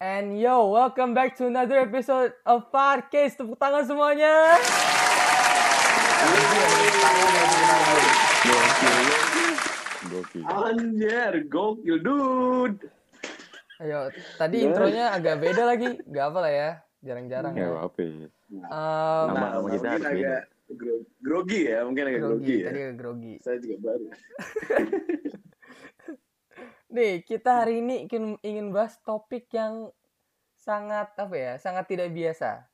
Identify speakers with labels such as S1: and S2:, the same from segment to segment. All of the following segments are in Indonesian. S1: And yo, welcome back to another episode of Parkcase. Tepuk tangan semuanya.
S2: Gokil.
S3: Anjir, gokil dude.
S1: Ayo, tadi
S3: Yes.
S1: intronya agak beda lagi. Gak apa lah ya, jarang-jarang.
S2: Nggak
S1: Ya.
S3: Iya.
S2: apa-apa.
S1: Um,
S2: Nama- nama kita
S3: Nah, mungkin
S2: harus beda.
S3: agak gro- grogi ya, mungkin agak grogi,
S1: grogi,
S3: ya.
S1: tadi agak grogi.
S3: Saya juga baru.
S1: Nih,
S3: Hmm.
S1: kita hari ini ingin, ingin bahas topik yang sangat apa ya, sangat tidak biasa.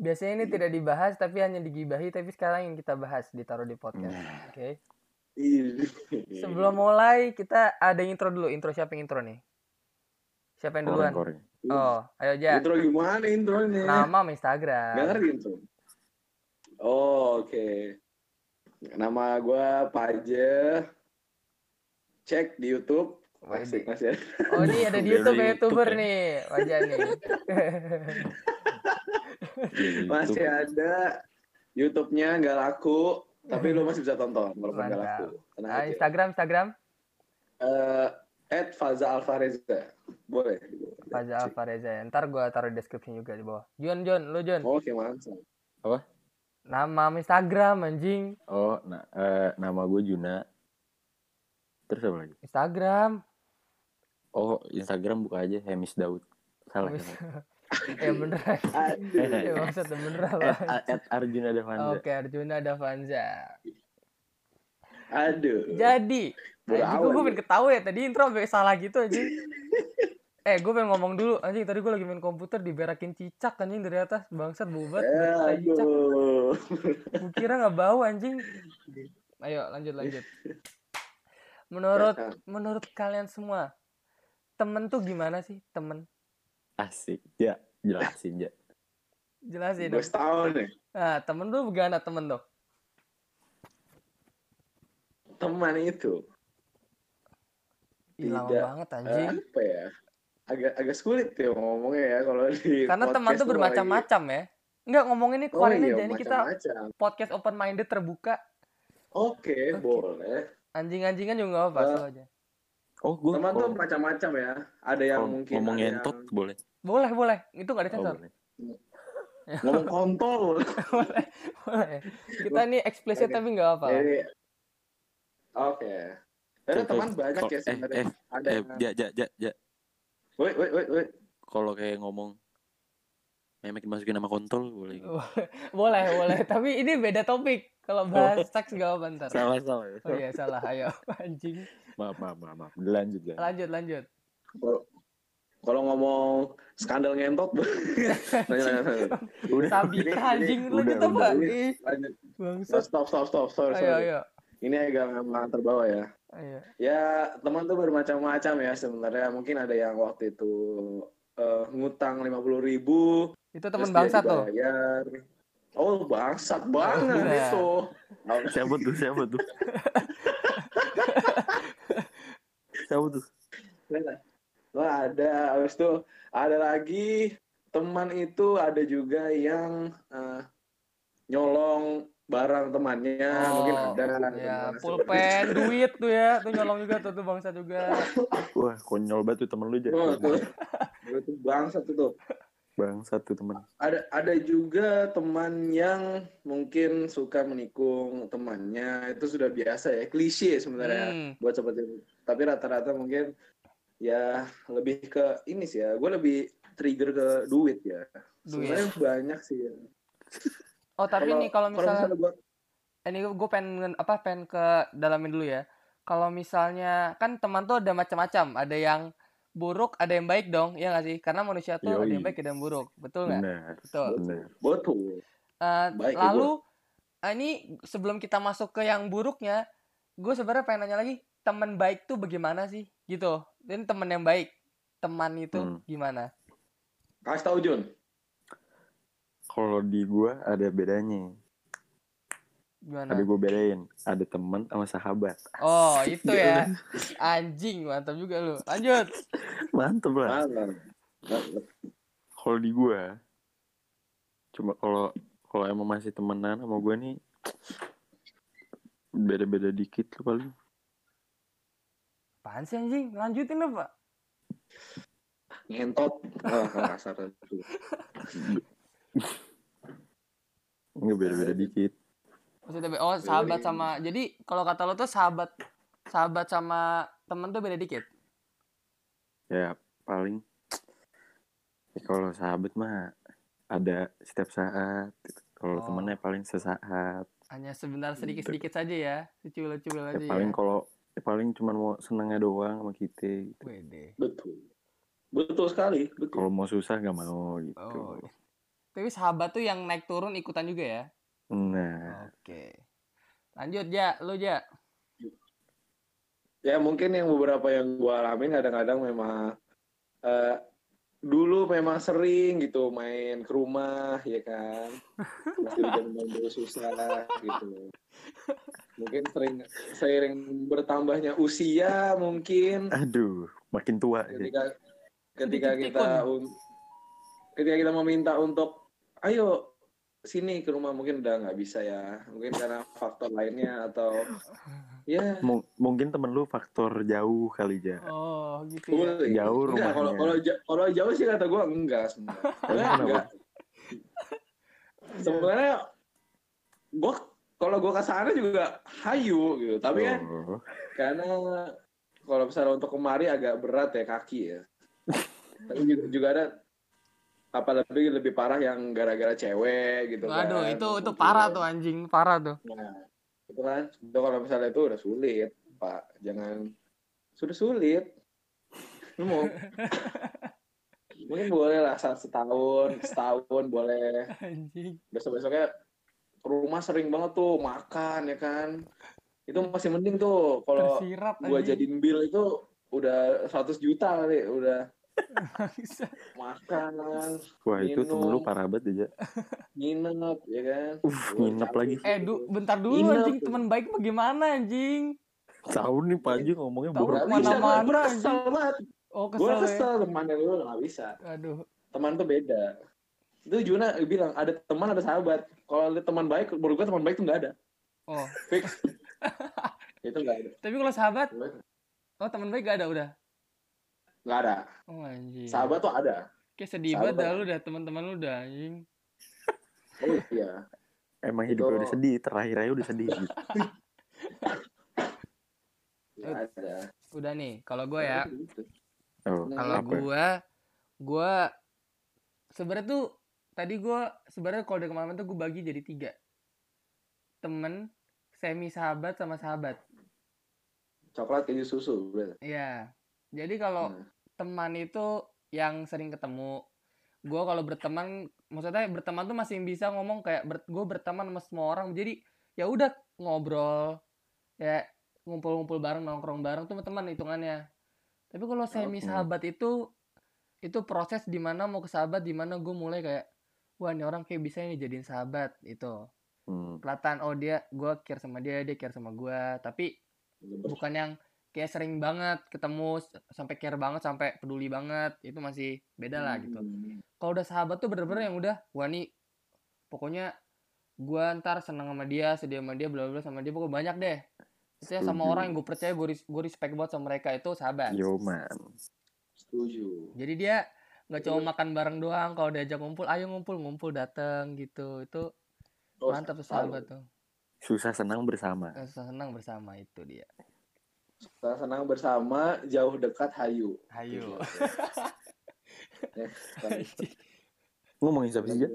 S1: Biasanya
S3: Hmm.
S1: ini tidak dibahas, tapi hanya digibahi. Tapi sekarang yang kita bahas ditaruh di podcast.
S3: Nah,
S1: Oke.
S3: Ih. iya.
S1: Sebelum mulai, kita ada intro dulu. Intro siapa yang intro nih? Siapa yang duluan?
S2: Koreng-koreng.
S1: Oh, ayo aja.
S3: Intro gimana intronya?
S1: Nama sama
S3: Gak
S1: Instagram.
S3: ngerti intro. Oh, oke. Nama gua Paje. Cek di YouTube.
S1: Wajib.
S3: Asik, Mas ya.
S1: Oh, ini ada di
S2: Dia
S1: YouTube
S2: di
S1: ya,
S2: YouTube
S1: YouTuber
S2: ya.
S1: nih. Wajah nih.
S2: Di
S3: Masih
S2: Iya, YouTube.
S3: ada YouTube-nya nggak laku, tapi lu masih bisa tonton walaupun nggak
S1: Mantap.
S3: laku. Tenang
S1: Ah,
S3: aja.
S1: Instagram, Instagram.
S3: Eh, at Faza Alvareza. Boleh.
S1: Faza Alvareza. ya. Ntar gue taruh di description juga di bawah. Jun, Jun. Lu, Jun.
S3: Oke, mantap.
S1: Nama sama Instagram, anjing.
S2: Oh, nah, eh, nama gue Juna. Terus apa lagi?
S1: Instagram.
S2: Oh, Instagram buka aja Hemis Daud. Salah.
S1: Hemis-
S2: salah.
S1: Ya beneran. Ya
S3: Aduh.
S1: maksudnya beneran lah.
S2: at, Eh,
S3: Eh,
S2: at- at Arjuna Devanza.
S1: Oke, Arjuna Davanza.
S3: Aduh.
S1: Jadi,
S3: Berawal
S1: gue
S3: dia.
S1: pengen ketawa ya tadi intro sampai salah gitu anjing. eh, gue pengen ngomong dulu anjing tadi gue lagi main komputer diberakin cicak anjing dari atas bangsat bubat
S3: Eh,
S1: berakin cicak.
S3: Aduh.
S1: Gue kira nggak bau anjing. Ayo lanjut lanjut. Menurut menurut kalian semua temen tuh gimana sih temen?
S2: Asik. Ya, jelasin ya.
S1: Jelasin
S3: Gue
S1: dong.
S3: setahun ya.
S1: Nah, temen tuh gimana temen tuh?
S3: Teman itu.
S1: Hilang
S3: Tidak,
S1: banget
S3: eh,
S1: anjing.
S3: apa ya? Agak agak sulit ya ngomongnya ya kalau di
S1: Karena teman
S3: podcast
S1: tuh
S3: apalagi.
S1: bermacam-macam ya. Enggak ngomongin ini
S3: Oh
S1: keluarin
S3: iya,
S1: aja ini kita
S3: macam-macam.
S1: podcast open minded terbuka
S3: Oke,
S1: Oke.
S3: boleh.
S1: Anjing-anjingan juga nggak apa-apa,
S3: Eh,
S1: slow aja.
S2: Oh, gue
S3: Teman tuh macam-macam ya. Ada yang mungkin
S2: ngomong
S3: ada
S2: ngentot boleh.
S1: Boleh, boleh. Itu nggak ada
S2: Oh,
S1: sensor.
S2: boleh.
S3: yang ngomong kontol.
S1: boleh, boleh. Kita ini eksplisit
S3: Oke. Iya,
S1: tapi nggak apa.
S3: Jadi Oke. Karena
S2: Contoh-
S3: teman banyak ya
S2: eh,
S3: sebenarnya.
S2: eh,
S3: ada
S2: eh,
S3: yang
S2: ja, ja, ja, ja.
S3: Woi, woi, woi, woi.
S2: Kalau kayak ngomong memek dimasukin nama kontol boleh.
S3: iya.
S1: Boleh, boleh. Tapi ini beda topik.
S3: Oh.
S1: Kalau bahas seks nggak apa ntar.
S2: Salah, salah. ya.
S1: Oh iya, salah. Ayo, anjing.
S2: Maaf, maaf, maaf, maaf. Lanjut ya.
S1: Lanjut, lanjut.
S3: Kalau- Kalau ngomong skandal ngentot, Lanjut, lanjut, lanjut.
S1: Sabita,
S3: Ini-
S1: anjing.
S2: ini-
S1: Lanjut apa?
S2: udah,
S3: udah.
S1: Ih,
S3: lanjut.
S1: Bangsat.
S3: Stop, stop, stop,
S1: Ayo,
S3: sorry, sorry.
S1: ayo.
S3: Ini agak memang terbawa ya.
S1: Ayo.
S3: Ya, teman tuh bermacam-macam ya sebenarnya. Mungkin ada yang waktu itu eh, ngutang 50 ribu.
S1: Itu teman bangsat tuh.
S3: ya, Oh, bangsat banget
S1: Nah.
S3: itu. Nah,
S2: Siapa tuh? Siapa tuh? siapa tuh?
S3: Wah, ada habis itu ada lagi teman itu ada juga yang eh, nyolong barang temannya mungkin
S1: Oh,
S3: ada
S1: Ya,
S3: Teman
S1: pulpen, duit tuh ya. Tuh nyolong juga tuh, tuh bangsat juga.
S2: Wah, konyol banget tuh temen lu,
S3: seperti itu. Oh,
S2: Ja.
S3: tuh. itu bangsa tuh, tuh.
S2: Bangsat tuh temen.
S3: Ada ada juga teman yang mungkin suka menikung temannya itu sudah biasa ya klise sebenarnya
S1: Hmm.
S3: buat seperti itu. Tapi rata-rata mungkin ya lebih ke ini sih ya. Gue lebih trigger ke duit ya.
S1: Duit.
S3: Sebenarnya banyak sih. Ya.
S1: Oh, tapi nih kalau misalnya
S3: buat
S1: ini gue pengen apa pengen ke dalamin dulu ya kalau misalnya kan teman tuh ada macam-macam ada yang buruk ada yang baik dong ya nggak sih karena manusia tuh ada yang
S2: Yoi.
S1: baik ada yang buruk betul nggak
S2: Benar,
S1: betul
S2: benar.
S3: botol.
S1: Eh,
S3: Baik, ya,
S1: lalu eh, ini sebelum kita masuk ke yang buruknya gue sebenarnya pengen nanya lagi teman baik tuh bagaimana sih gitu dan teman yang baik teman itu
S2: Hmm.
S1: gimana
S3: Kasih tau Jun.
S2: Kalau di gua ada bedanya.
S1: gimana
S2: Ada gua bedain. Ada temen sama sahabat.
S1: oh
S2: Asik,
S1: itu
S2: Ja.
S1: ya anjing mantap juga lu lanjut
S2: Mantep lah.
S3: Mana? nah,
S2: kalau di gua cuma kalau kalau emang masih temenan sama gua nih beda-beda dikit tuh paling
S1: apaan sih anjing lanjutin apa
S3: ngentot ah kasar gitu.
S2: Enggak beda-beda dikit.
S1: Maksudnya be- oh sahabat sama jadi kalau kata lo tuh sahabat sahabat sama temen tuh beda dikit.
S2: Ya paling ya, kalau sahabat mah ada setiap saat. gitu. Kalau
S1: Oh.
S2: temennya paling sesaat.
S1: Hanya sebentar sedikit-sedikit saja ya. Secuil-cuil
S2: Ya,
S1: aja.
S2: paling
S1: ya.
S2: kalau ya, paling cuma mau senengnya doang sama kita. gitu.
S1: Wede.
S3: betul betul sekali betul
S2: Kalau mau susah gak mau gitu.
S1: Oh. Tapi sahabat tuh yang naik turun ikutan juga ya.
S2: Nah,
S1: Oke. Lanjut ja, lu ja.
S3: ya mungkin yang beberapa yang gua alamin kadang-kadang memang eh, dulu memang sering gitu main ke rumah ya kan Terus jadi main dulu susah gitu mungkin sering sering bertambahnya usia mungkin
S2: aduh, makin tua. Ya.
S3: ketika ketika
S1: Dikit
S3: kita un- ketika kita meminta untuk ayo sini ke rumah mungkin udah nggak bisa ya mungkin karena faktor lainnya atau ya
S2: Mung- mungkin temen lu faktor jauh kali ja.
S1: Oh, gitu ya.
S3: boleh.
S2: Jauh
S3: Enggak, kalau
S2: rumahnya.
S3: kalau ja- kalau jauh sih kata gue enggak sebenarnya Sebenarnya
S2: kenapa?
S3: enggak sebenarnya gue kalau gue ke sana juga hayu gitu tapi kan
S2: Oh.
S3: karena kalau misalnya untuk kemari agak berat ya kaki ya tapi juga, juga ada apalagi lebih parah yang gara-gara cewek gitu kan.
S1: Waduh, itu itu
S3: Mungkin.
S1: parah tuh anjing, parah tuh.
S3: nah, itu kan itu kalau misalnya itu udah sulit pak jangan sudah sulit lu mau mungkin boleh lah sa- setahun setahun boleh
S1: Anjing.
S3: besok besoknya ke rumah sering banget tuh makan ya kan itu masih mending tuh kalau
S1: Tersirat
S3: gua
S1: anjing.
S3: jadiin bill itu udah 100 juta kali udah makan
S2: Wah, itu temen lu
S3: Minum.
S2: parah banget ja.
S3: nginep ya kan
S2: Uff,
S3: Gua
S2: nginep
S3: cabut
S2: lagi.
S3: gitu.
S1: eh, du, bentar dulu
S3: Inap.
S1: anjing, teman baik bagaimana anjing?
S2: Tahu nih Pak Haji ngomongnya
S1: Tahu
S2: boros.
S3: Nggak
S1: Mana-
S3: bisa, gua- gua
S1: mana,
S3: kesel banget
S1: Oh,
S3: gue
S1: kesel. ya.
S3: kesel teman yang lu nggak bisa
S1: Aduh.
S3: teman tuh beda itu Juna bilang ada teman ada sahabat kalau ada teman baik menurut gue teman baik tuh nggak ada
S1: Oh,
S3: fix itu nggak ada
S1: tapi kalau sahabat, oh teman baik gak ada udah.
S3: nggak ada
S1: Oh
S2: Iya.
S1: anjing.
S3: sahabat tuh ada
S1: Kayak sedih
S3: Sahabat.
S1: banget dah lu dah teman-teman lu dah anjing.
S3: oh iya
S2: Emang hidupnya
S3: Itu-
S2: udah sedih, terakhir aja udah sedih. gitu.
S3: nggak ada gitu.
S1: Udah nih, kalau gue ya,
S2: Oh,
S1: kalau
S2: apa?
S1: gue, gue sebenarnya tuh tadi gue sebenarnya kalau dari kemarin tuh gue bagi jadi tiga temen, semi sahabat sama sahabat.
S3: coklat keju susu bener.
S1: Iya. Jadi kalau
S3: Hmm.
S1: teman itu yang sering ketemu. Gue kalau berteman, maksudnya berteman tuh masih bisa ngomong kayak gue berteman sama semua orang. Jadi ya udah ngobrol, ya ngumpul-ngumpul bareng, nongkrong bareng tuh sama teman hitungannya. Tapi kalau semi
S2: Oke.
S1: sahabat itu itu proses dimana mau ke sahabat, dimana gue mulai kayak wah ini orang kayak bisa ini jadiin sahabat itu.
S2: Hmm.
S1: Kelihatan oh dia gue care sama dia, dia care sama gue. Tapi bukan yang kayak sering banget ketemu s- sampai care banget sampai peduli banget itu masih beda lah gitu
S2: Hmm.
S3: Hmm,
S1: kalau udah sahabat tuh bener-bener yang udah wah nih pokoknya gua ntar seneng sama dia sedih sama dia bla bla bla sama dia pokoknya banyak deh itu ya sama
S2: Setuju.
S1: orang yang gue percaya gue gue respect banget sama mereka itu sahabat
S2: Yo man.
S3: setuju
S1: jadi dia nggak cuma makan bareng doang kalau diajak ngumpul ayo ngumpul ngumpul dateng gitu itu
S3: Oh,
S1: mantap tuh sahabat tuh
S2: Susah senang bersama.
S1: Eh, senang bersama itu dia
S3: Senang- senang bersama jauh dekat hayu Iya.
S1: ayo Iya.
S3: Ya, sekali.
S2: Ngomongin siapa sih ja?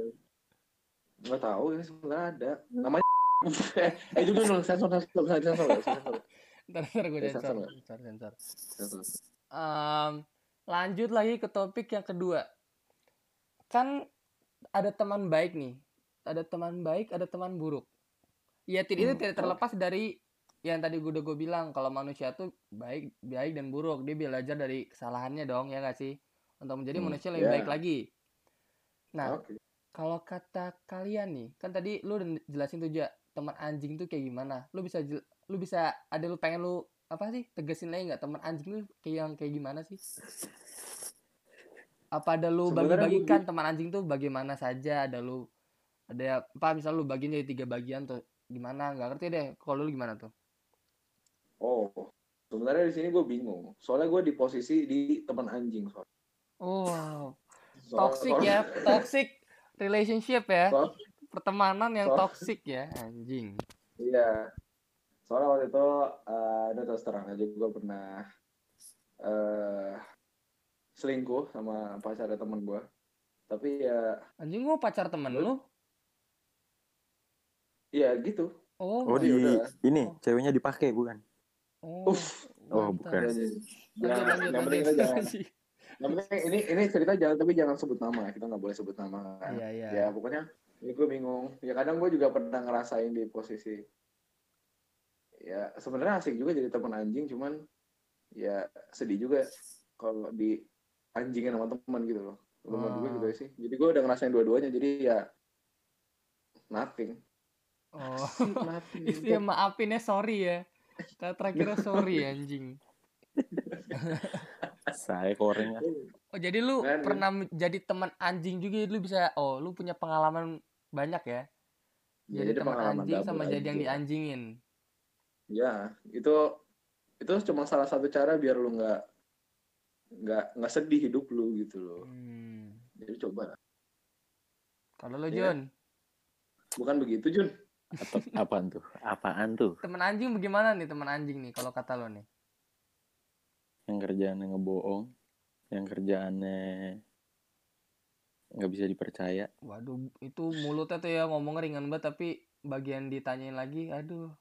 S3: Nggak tahu ini sebenarnya ada. Namanya eh eh, itu dulu sensor sensor sensor sensor sensor.
S1: ntar ntar
S2: Eh,
S1: gue
S3: Ya,
S1: sensor
S3: sama.
S1: sensor sensor
S3: sensor.
S1: Em, lanjut lagi ke topik yang kedua. Kan ada teman baik nih. Ada teman baik, ada teman buruk. Ya tid- itu
S2: Hmm,
S1: tidak terlepas dari yang tadi gue udah gue bilang kalau manusia tuh baik baik dan buruk dia belajar dari kesalahannya dong ya gak sih untuk menjadi
S2: Hmm,
S1: manusia lebih
S3: ya.
S1: baik lagi nah
S3: Oke.
S1: kalau kata kalian nih kan tadi lu udah jelasin tuh ja teman anjing tuh kayak gimana lu bisa jel- lu bisa ada lu pengen lu apa sih tegesin lagi nggak teman anjing tuh kayak yang kayak gimana sih apa ada lu
S3: Sebenarnya
S1: bagi-bagikan teman anjing tuh bagaimana saja ada lu ada apa misal lu bagiin jadi tiga bagian tuh gimana nggak ngerti deh kalau lu gimana tuh
S3: Oh. Sebenarnya di sini gue bingung. Soalnya gue di posisi di teman anjing soalnya.
S1: Wow,
S3: Soal-
S1: toxic ya, toxic relationship ya.
S3: soal-
S1: Pertemanan yang
S3: Soal-
S1: toxic ya, anjing.
S3: Iya. Soalnya waktu itu eh udah terus terang aja gue pernah eh selingkuh sama pacar temen gue. Tapi ya
S1: Anjing gua pacar temen lu?
S3: iya gitu.
S1: Oh,
S2: Oh,
S3: iya
S2: di
S3: udah.
S2: ini ceweknya dipakai bukan?
S1: oh,
S3: Uff.
S2: Oh,
S1: mantap.
S2: bukan.
S3: Jadi,
S1: Lanjut,
S3: jangan-
S1: lanjut,
S3: Iya, Ya,
S1: Iya,
S3: yang penting kita
S1: lanjut.
S3: jangan. Yang penting ini ini cerita jangan tapi jangan sebut nama. Kita nggak boleh sebut nama. kan.
S1: Iya, iya.
S3: Ya pokoknya ini gue bingung. Ya kadang gue juga pernah ngerasain di posisi ya sebenarnya asik juga jadi teman anjing cuman ya sedih juga kalau di anjingin sama teman gitu loh. Teman
S1: Ah.
S3: gue gitu sih. Jadi gue udah ngerasain dua-duanya jadi ya nothing.
S1: Oh.
S3: nothing.
S1: Itu ya maafin ya, sorry ya. Kata terakhirnya sorry ya, anjing.
S2: Saya koreng.
S1: Oh, jadi lu
S3: Kan,
S1: pernah jadi teman anjing juga lu bisa oh, lu punya pengalaman banyak ya. Jadi,
S3: itu
S1: teman
S3: Iya, pengalaman
S1: anjing
S3: double
S1: sama jadi yang
S3: anjing.
S1: dianjingin.
S3: Ya, itu itu cuma salah satu cara biar lu nggak nggak nggak sedih hidup lu gitu loh.
S1: Hmm.
S3: Jadi coba.
S1: Kalau lu
S3: Iya.
S1: Jun,
S3: Bukan begitu Jun?
S2: Atau apaan tuh? Apaan tuh?
S1: teman anjing bagaimana nih teman anjing nih kalau kata lo nih?
S2: Yang kerjaannya ngebohong, yang kerjaannya nggak bisa dipercaya.
S1: Waduh, itu mulutnya tuh ya ngomong ringan banget tapi bagian ditanyain lagi, aduh.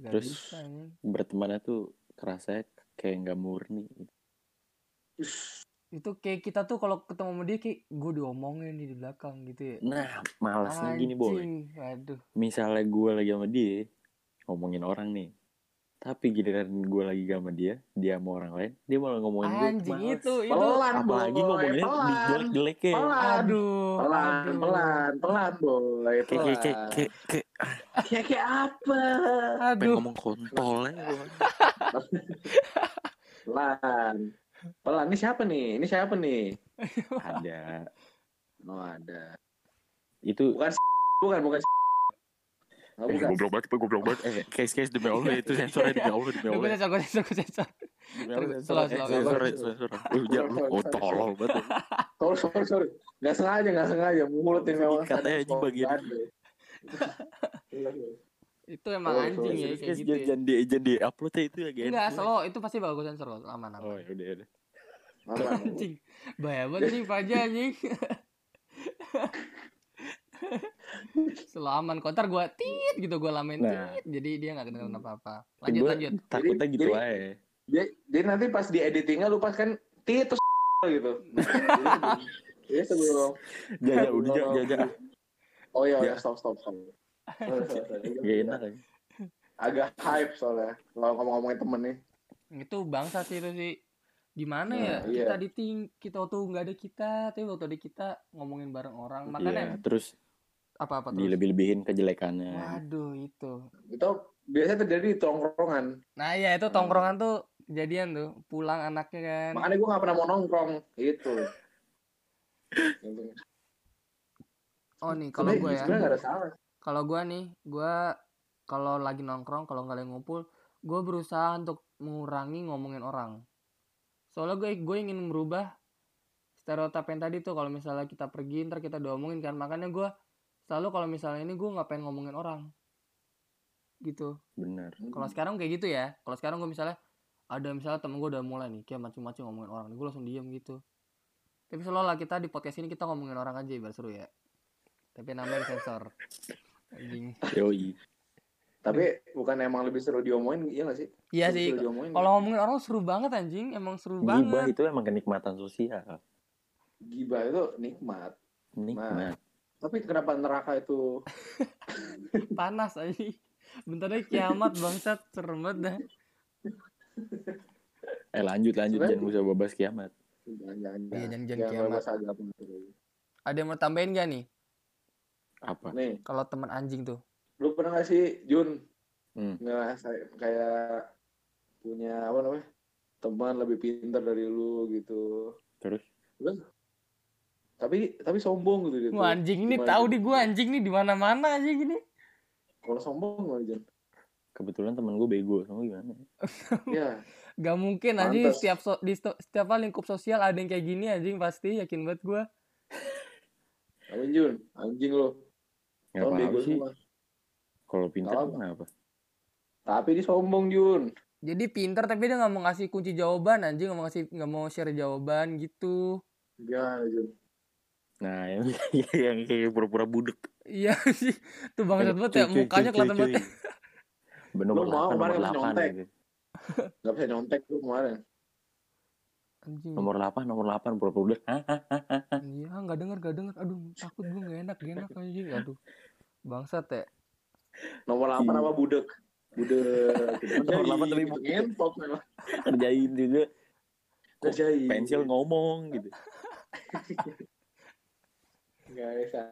S1: Gak
S2: Terus-
S1: bisa anjing.
S2: Bertemannya tuh kerasa kayak nggak murni.
S1: Itu kayak kita tuh kalau ketemu sama dia kayak gue diomongin nih di belakang gitu ya.
S2: Nah, malasnya gini ya. boy.
S1: Anjing, Waduh.
S2: Misalnya gue lagi sama dia, ngomongin orang nih. Tapi giliran gue lagi gak sama dia, dia sama orang lain, dia malah ngomongin gue.
S1: Anjing
S2: males.
S1: itu, itu.
S3: Pelan,
S2: Apalagi
S3: boy,
S2: ngomongin
S3: pelan.
S2: jelek-jeleknya.
S3: Pelan.
S1: Aduh,
S3: Pelan,
S1: aduh.
S3: pelan, pelan, boy,
S2: Kayak, kayak, kayak,
S3: pelan.
S2: kayak, kayak,
S3: Kayak Iya, kayak apa?
S2: pengen
S1: Aduh.
S2: ngomong ya. kontolnya. gua.
S3: Pelan, pelan. Ini siapa nih? Ini siapa nih?
S2: Ada.
S3: No ada.
S2: Itu
S3: Bukan, bukan. Nggak
S2: Eh,
S3: bukan.
S2: goblok banget, gue goblok banget. Eh, case case demi Allah itu sensornya demi Allah demi
S1: Duh, gue
S2: Allah.
S1: sensor, gue sensor, gue sensor.
S2: Demi Allah
S1: Terus,
S2: sensornya,
S1: slow,
S2: eh,
S1: slow,
S2: sensornya,
S3: slow.
S2: sensornya. Eh, jangan lu- Oh, tolol banget.
S3: Sorry, sorry, sorry. Nggak sengaja, nggak sengaja. Mulut ini memang.
S2: Dikat aja, anjing, bagian.
S3: Iya,
S1: Itu emang
S3: Oh,
S1: anjing
S3: sorry,
S1: ya
S2: Case
S1: kayak
S2: case
S1: gitu. ya.
S2: jangan di jangan di upload ya itu lagi.
S1: Enggak, slow itu pasti bakal gue sensor kok, aman aman.
S2: Oh, ya udah ya udah.
S3: Aman.
S1: Anjing. Bahaya banget sih Fajar anjing. Slow aman kok. Ntar gue tit gitu gue lamen
S2: Nah.
S1: tit. Jadi dia gak kedengeran apa-apa. Lanjut
S2: Gue
S1: lanjut.
S2: takutnya gitu
S3: jadi-
S2: aja.
S3: Jadi, jadi nanti pas di editingnya lu pas kan titus gitu. Nah, jadi sebelum- jadi sebelum
S2: Jangan udah jangan
S3: Tolol.
S2: jangan.
S3: Oh iya,
S2: Ya.
S3: iya, stop, stop, stop. Sorry, sorry, sorry.
S2: Gak enak. ya.
S3: Agak hype soalnya kalau ngomong-ngomongin temen nih.
S1: Itu bangsa sih itu sih. Gimana
S2: Nah,
S1: ya?
S3: iya.
S1: Kita diting kita waktu nggak ada kita, tapi waktu ada kita ngomongin bareng orang.
S2: Iya,
S1: Makanya
S2: terus
S1: apa-apa terus.
S2: dilebih-lebihin kejelekannya.
S1: Waduh itu.
S3: Itu biasanya terjadi di tongkrongan.
S1: Nah iya itu tongkrongan tuh kejadian tuh pulang anaknya kan.
S3: Makanya gue gak pernah mau nongkrong. gitu. Itu. Sebenarnya-
S1: Oh nih kalau gue ya.
S3: Sebenarnya gak ada salah.
S1: Kalau gue nih gue kalau lagi nongkrong kalau nggak lagi ngumpul gue berusaha untuk mengurangi ngomongin orang. Soalnya gue gue ingin merubah stereotip yang tadi tuh kalau misalnya kita pergi ntar kita diomongin kan makanya gue selalu kalau misalnya ini gue nggak pengen ngomongin orang gitu.
S2: Benar.
S3: Hmm.
S1: Kalau sekarang kayak gitu ya. Kalau sekarang gue misalnya ada misalnya temen gue udah mulai nih kayak macem-macem ngomongin orang, gue langsung diem gitu. Tapi selalu lah kita di podcast ini kita ngomongin orang aja biar seru ya. Tapi namanya sensor. Anjing.
S2: Yoi.
S3: Tapi bukan emang lebih seru diomongin, iya gak sih?
S1: Iya
S3: Lebih
S1: sih.
S3: seru diomongin.
S1: Kalau ngomongin orang seru banget anjing, emang seru
S2: Gibah
S1: banget.
S2: itu emang kenikmatan sosial.
S3: Gibah itu nikmat. Nah,
S2: Nikmat.
S3: Tapi kenapa neraka itu
S1: Panas anjing. Bentar lagi kiamat bangsat serem banget dah.
S2: Eh lanjut lanjut
S3: Sebenarnya-
S2: jangan usah babas kiamat.
S3: jangan-jangan
S1: Iya, jangan- jangan
S3: jangan
S1: kiamat.
S3: bahas agama terus.
S1: Ada yang mau tambahin gak nih?
S2: Apa?
S3: Nih,
S1: Kalau teman anjing tuh.
S3: lu pernah gak sih Jun
S2: Hmm.
S3: ngerasa kayak punya apa namanya teman lebih pintar dari lu gitu
S2: Terus
S3: tapi tapi sombong gitu dia tuh.
S1: Wah, anjing ini
S3: Gimana
S1: tahu
S3: tuh?
S1: di gua anjing nih di mana-mana anjing ini.
S3: kalau sombong gimana Jon
S2: kebetulan teman gue bego sama gimana
S3: Ya,
S1: Gak mungkin anjing
S3: Pantes.
S1: setiap so- di sto- setiap lingkup sosial ada yang kayak gini anjing pasti yakin banget gue.
S3: amin Jun, anjing lo.
S2: nggak
S3: Lo
S2: Ya, paham
S3: bego
S2: sih
S3: semua.
S2: kalau pintar
S3: Nggak apa.
S2: kenapa
S3: Tapi ini sombong Jun.
S1: Jadi pinter tapi dia nggak mau ngasih kunci jawaban anjing nggak mau ngasih nggak mau share jawaban gitu.
S3: Gimana Jun?
S2: nah yang yang kayak pura-pura budek
S1: Iya sih. Tuh bangsat banget ya
S2: Cuy, cuy,
S1: mukanya
S2: cuy,
S1: kelihatan
S2: cuy,
S1: banget.
S2: cuy. nomor
S3: Lo mau
S2: delapan nomor
S3: kemarin
S2: delapan
S3: nyontek.
S2: gitu.
S3: Gak bisa nyontek lu kemarin.
S1: Anjing.
S2: nomor delapan nomor delapan pura-pura budek Ah, Hah?
S1: Iya nggak dengar nggak dengar. Aduh takut gue nggak enak gak enak anjing. Aduh bangsat ya.
S3: Nomor 8
S2: Iya.
S3: apa budek? Budek.
S2: Nomor delapan tapi budek.
S3: ngentok memang.
S2: kerjain juga
S3: Kerjain.
S2: pensil ngomong gitu
S3: Gak bisa.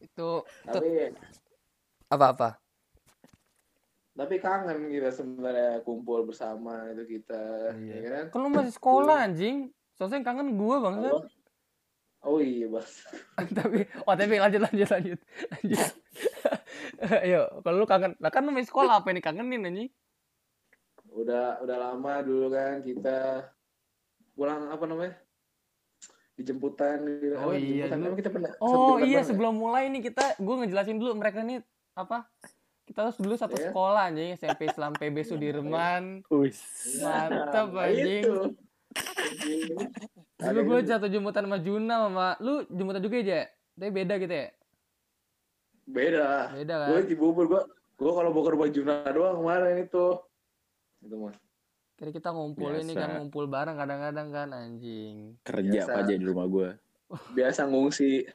S1: Itu
S3: Tapi
S1: apa-apa.
S3: tapi kangen kita sebenarnya kumpul bersama itu kita,
S1: Iya.
S3: ya kan?
S1: Kan lu masih sekolah anjing. Soalnya yang kangen gue bangsat.
S3: Apa? Oh iya, Bas.
S1: tapi oh tapi lanjut lanjut lanjut lanjut ayo kalau lu kangen lah kan lu main sekolah apa yang dikangenin anjing
S3: udah udah lama dulu kan kita pulang apa namanya dijemputan gitu
S1: Oh
S3: Apa,
S1: iya,
S3: dijemputan
S1: dulu.
S3: Emang kita pernah satu
S1: oh
S3: jemputan
S1: iya
S3: bareng ya?
S1: sebelum mulai nih kita gue ngejelasin dulu mereka nih apa kita harus dulu satu
S3: Iya.
S1: sekolah anjing SMP Islam PB Sudirman
S2: Wis.
S1: mantap
S3: Nah,
S1: anjing
S3: itu. Anjing.
S1: dulu
S3: Ada
S1: gue
S3: yang
S1: jatuh jemputan sama Juna sama lu jemputan juga aja tapi beda gitu ya
S3: beda
S1: beda kan
S3: gue di Bogor gue gue kalau Bogor Bajuna doang kemarin itu itu mah
S1: kira kita ngumpul ini kan
S2: Biasa.
S1: ngumpul bareng kadang-kadang kan anjing
S2: kerja
S3: Biasa.
S2: apa aja di rumah gue
S3: biasa ngungsi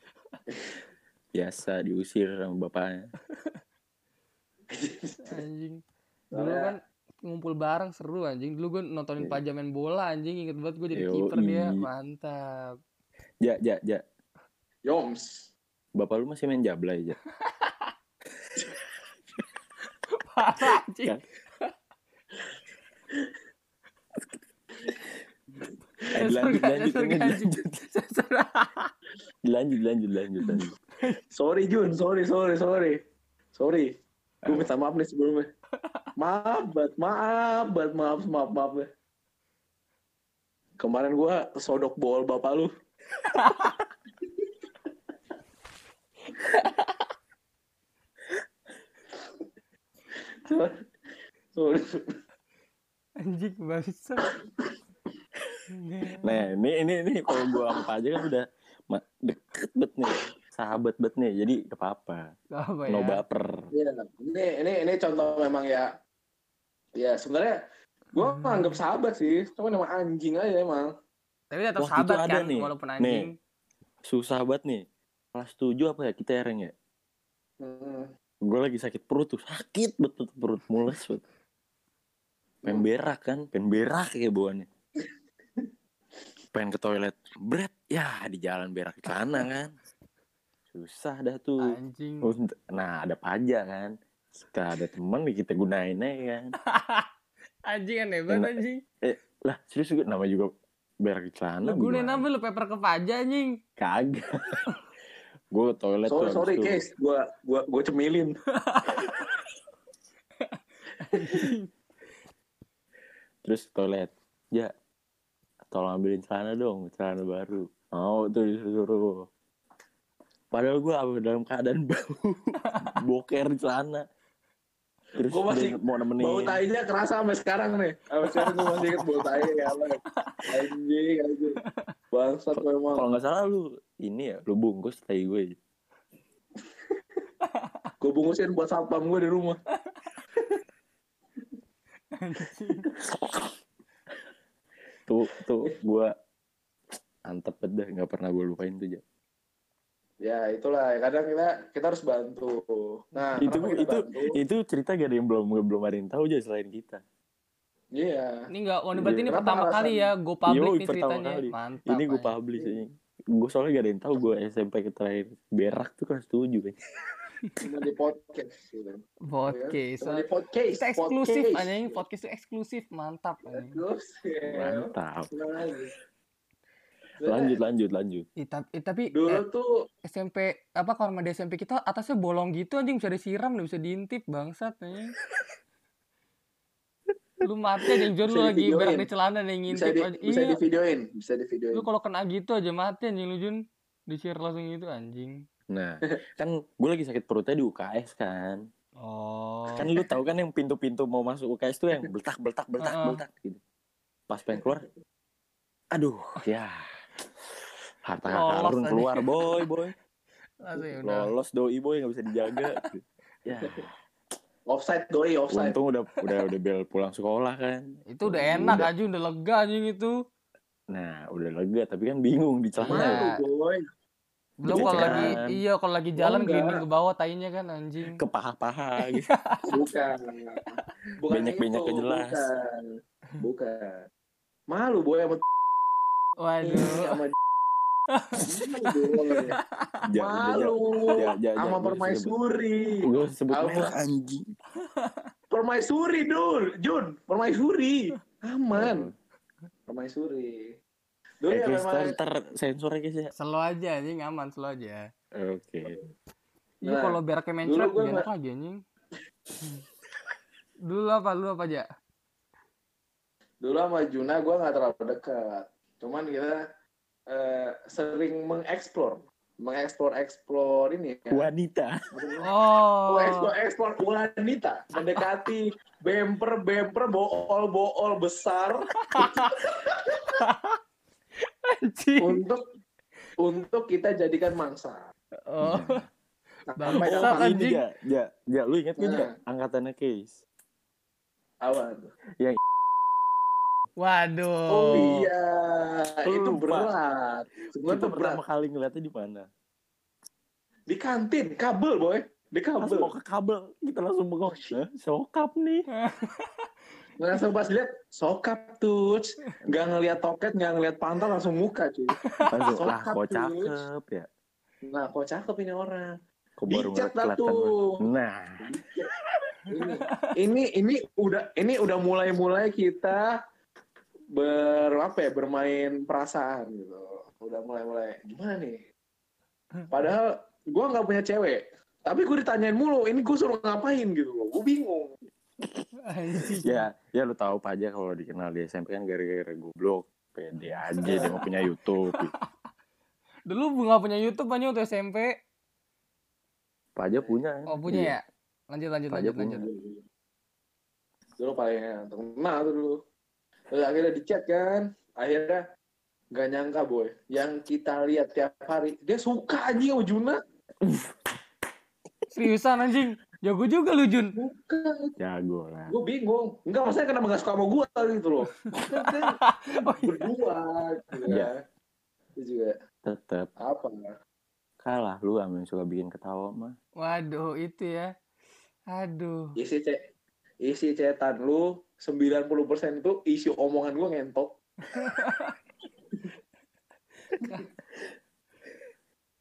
S2: biasa diusir sama bapaknya
S1: anjing dulu
S3: Soalnya-
S1: kan ngumpul bareng seru anjing dulu gue nontonin
S2: Iya.
S1: Paja main bola anjing inget banget gue jadi
S2: Yoi.
S1: kiper dia mantap
S2: ja ja ja
S3: Yoms
S2: bapak lu masih main jablay ja
S1: parah anjing
S2: Kan. Eh,
S1: Sensor
S2: dilanjut,
S1: gak- sensor
S2: lanjut, lanjut,
S1: gak, anjing?
S2: lanjut.
S1: Sensor.
S2: lanjut lanjut lanjut lanjut
S3: sorry Jun sorry sorry sorry sorry gue minta maaf nih sebelumnya maaf bat maaf bat maaf maaf maaf Bat. kemarin gua sodok bol bapak lu sorry
S1: anjing bangsa Enggak.
S2: nah ini ini ini kalau gua sama Pak aja kan udah ma- deket bet nih sahabat bet nih jadi gak apa-apa
S1: apa ya
S2: no baper
S3: Iya, ini ini ini contoh memang ya ya sebenarnya gua
S1: Hmm.
S3: menganggap sahabat sih cuman emang anjing aja emang
S1: tapi tetap
S2: Waktu itu
S1: sahabat
S2: ada
S1: kan
S2: nih.
S1: walaupun anjing
S2: susah banget nih kelas 7 apa ya kita ereng ya
S3: Hmm.
S2: gue lagi sakit perut tuh sakit banget tuh perut mules banget pengen berak kan pengen berak ya bawaannya pengen ke toilet bret ya di jalan berak di celana kan susah dah tuh
S1: anjing
S2: Terus, nah ada pajak kan kita ada teman nih, kita gunain aja kan
S1: anjing aneh banget
S2: Enak.
S1: anjing
S2: lah serius gue nama juga berak di celana
S1: lu gunain
S2: gimana?
S1: apa lu paper ke Paja anjing
S2: kagak gue ke toilet
S3: sorry
S2: tuh
S3: sorry
S2: abis itu.
S3: guys gua gua gua cemilin
S2: terus ke toilet ya tolong ambilin celana dong celana baru mau tuh disuruh padahal gue dalam keadaan bau boker di celana terus
S3: Gua masih
S2: dia mau nemenin
S3: Bau tainya kerasa sampai sekarang nih. Sampai sekarang gue masih inget bau tai ya. apa. Anjing, anjing. Bangsat memang.
S2: kalau nggak salah lu ini ya lu bungkus tai gue
S3: Gue bungkusin buat satpam gue di rumah.
S1: anjing
S2: tuh tuh gue antep banget dah nggak pernah gue lupain tuh ja.
S3: Ya itulah. Kadang kita kita harus bantu. Nah,
S2: Itu-
S3: kenapa kita
S2: itu-
S3: bantu?
S2: itu cerita gak ada yang belum belum ada yang tahu aja selain kita
S3: Iya.
S1: ini enggak oh, ini berarti ini
S3: Kenapa
S1: pertama
S3: alasan-
S1: kali ya go public
S2: Iya, Yoi,
S1: nih
S2: pertama
S1: ceritanya
S2: kali.
S1: mantap
S2: ini gue
S1: anjing.
S2: publish ini gue soalnya gak ada yang tahu gue SMP terakhir berak tuh kelas tujuh kan
S3: Cuma di podcast. Gitu.
S1: podcast
S3: Cuma di
S2: Iya.
S3: podcast.
S1: kita eksklusif
S3: podcast.
S1: anjing podcast itu eksklusif mantap anjing
S3: Eksklusif.
S2: mantap
S3: Senang lagi.
S2: lanjut lanjut lanjut
S1: Ih, tap- eh, tapi
S3: Dulu
S1: eh,
S3: tuh
S1: SMP apa kormada SMP kita atasnya bolong gitu anjing bisa disiram nggak bisa diintip bangsat anjing. lu mati anjing John lu
S3: Bisa
S1: lagi
S3: divideoin.
S1: berak di celana ada yang
S3: bisa
S1: ngintip
S3: di,
S1: anjing.
S3: bisa
S1: Iya,
S3: divideoin, bisa divideoin.
S1: lu kalau kena gitu aja mati anjing lu Jun. Disir langsung gitu anjing.
S2: nah kan gue lagi sakit perutnya di UKS kan
S1: Oh.
S2: kan lu tahu kan yang pintu-pintu mau masuk UKS tuh yang beltak beltak beltak
S1: Heeh.
S2: beltak gitu pas pengen keluar aduh ya harta
S1: Lolos
S2: karun
S1: aja.
S2: keluar boy boy
S1: Langsung ya udah.
S2: lolos doi boy nggak bisa dijaga gitu. ya
S3: Offside doi, offside.
S2: untung udah udah udah bel pulang sekolah kan
S1: Itu udah enak
S2: Udah.
S1: anjing udah lega anjing itu.
S2: nah udah lega tapi kan bingung di celana
S1: Malu.
S3: Malu, boy.
S1: Belum
S2: Gitu
S1: kalau
S2: kan.
S1: lagi iya kalau lagi
S3: Oh, Enggak.
S1: jalan gelinding ke bawah tainya kan anjing.
S2: ke paha-paha gitu
S3: Bukan. Bukan
S2: Banyak-banyaknya
S3: itu,
S2: jelas.
S3: Bukan. Bukan. Malu boy sama
S1: Waduh.
S3: sama Malu, boy.
S2: Jangan-
S3: Malu.
S2: jangan- jangan- jangan
S3: Sama
S2: disebut.
S3: permaisuri.
S2: Gak usah sebut
S3: Apa?
S2: merek, anjing
S3: Permaisuri, Dul. Jun, permaisuri. Aman. Permaisuri. Dul
S2: Eh,
S3: ya
S2: Chris,
S3: memang.
S2: ntar, ntar sensor aja guys ya.
S1: Slow aja anjing aman slow aja.
S2: Oke.
S1: Iya
S3: Nah,
S1: kalau beraknya
S3: dulu
S1: mencret
S3: gua
S1: gak enak
S3: nggak-
S1: lagi anjing. dulu apa lu apa aja?
S3: Dulu sama Juna gue nggak terlalu dekat. Cuman kita eh, sering mengeksplor. Mengeksplor-eksplor ini. ya.
S2: Wanita.
S1: Oh.
S3: ekspor ekspor wanita mendekati bemper bemper bool bool besar
S1: Anjing.
S3: untuk untuk kita jadikan mangsa
S1: Oh.
S3: iya. sampai
S1: Bangsa
S3: dalam
S1: kan?
S2: ini
S1: anjing.
S2: ya, ya, ya, lu inget gak
S3: Nah.
S2: ya angkatannya Case?
S3: awan
S1: Waduh.
S3: oh iya itu
S2: Lupa.
S3: berat
S2: Gue
S3: sebenarnya tuh berat
S2: pertama kali ngeliatnya di mana?
S3: di kantin kabel boy di
S2: Pas mau
S3: kabel
S2: ke kabel, kita langsung bengong. Hah, Sokap nih.
S3: langsung pas lihat sokap tuh nggak ngelihat toket nggak ngelihat pantat langsung muka cuy
S2: Langsung, lah
S3: Sokap,
S2: kok
S3: Cus.
S2: cakep ya.
S3: nah kok cakep ini orang
S2: Kok baru ngeliat
S3: dicat dah
S2: kelihatan.
S3: tuh
S2: Nah,
S3: ini ini ini udah ini udah mulai mulai kita ber apa ya bermain perasaan gitu udah mulai mulai gimana nih padahal gua nggak punya cewek tapi gue ditanyain mulu ini gue suruh ngapain gitu loh gue bingung
S1: Anjing.
S3: Iya.
S2: ya, ya lu tahu apa aja kalau dikenal di SMP kan gara-gara goblok. Pede aja, dia mau punya Youtube.
S1: Dulu gak punya YouTube anjing waktu SMP.
S2: Paja punya.
S1: Oh punya
S3: Iya.
S1: ya? Lanjut lanjut
S2: Pajak
S1: lanjut
S2: punya.
S1: lanjut.
S3: dulu paling terkenal tuh dulu Terus akhirnya di chat kan akhirnya nggak nyangka boy yang kita lihat tiap hari dia suka aja sama Juna
S1: Seriusan anjing. Jago juga lu Jun.
S3: suka
S2: Iya, Jago lah.
S3: gue bingung enggak maksudnya kenapa gak suka sama gue gitu loh Kan kita
S1: Oh, iya.
S3: berdua gitu
S2: Iya.
S3: ya itu juga
S2: Tetep
S3: apa
S2: kalah lu sama yang suka bikin ketawa mah.
S1: Waduh itu ya. Aduh.
S3: isi ce isi cetan lu 90% itu isi omongan gue ngentot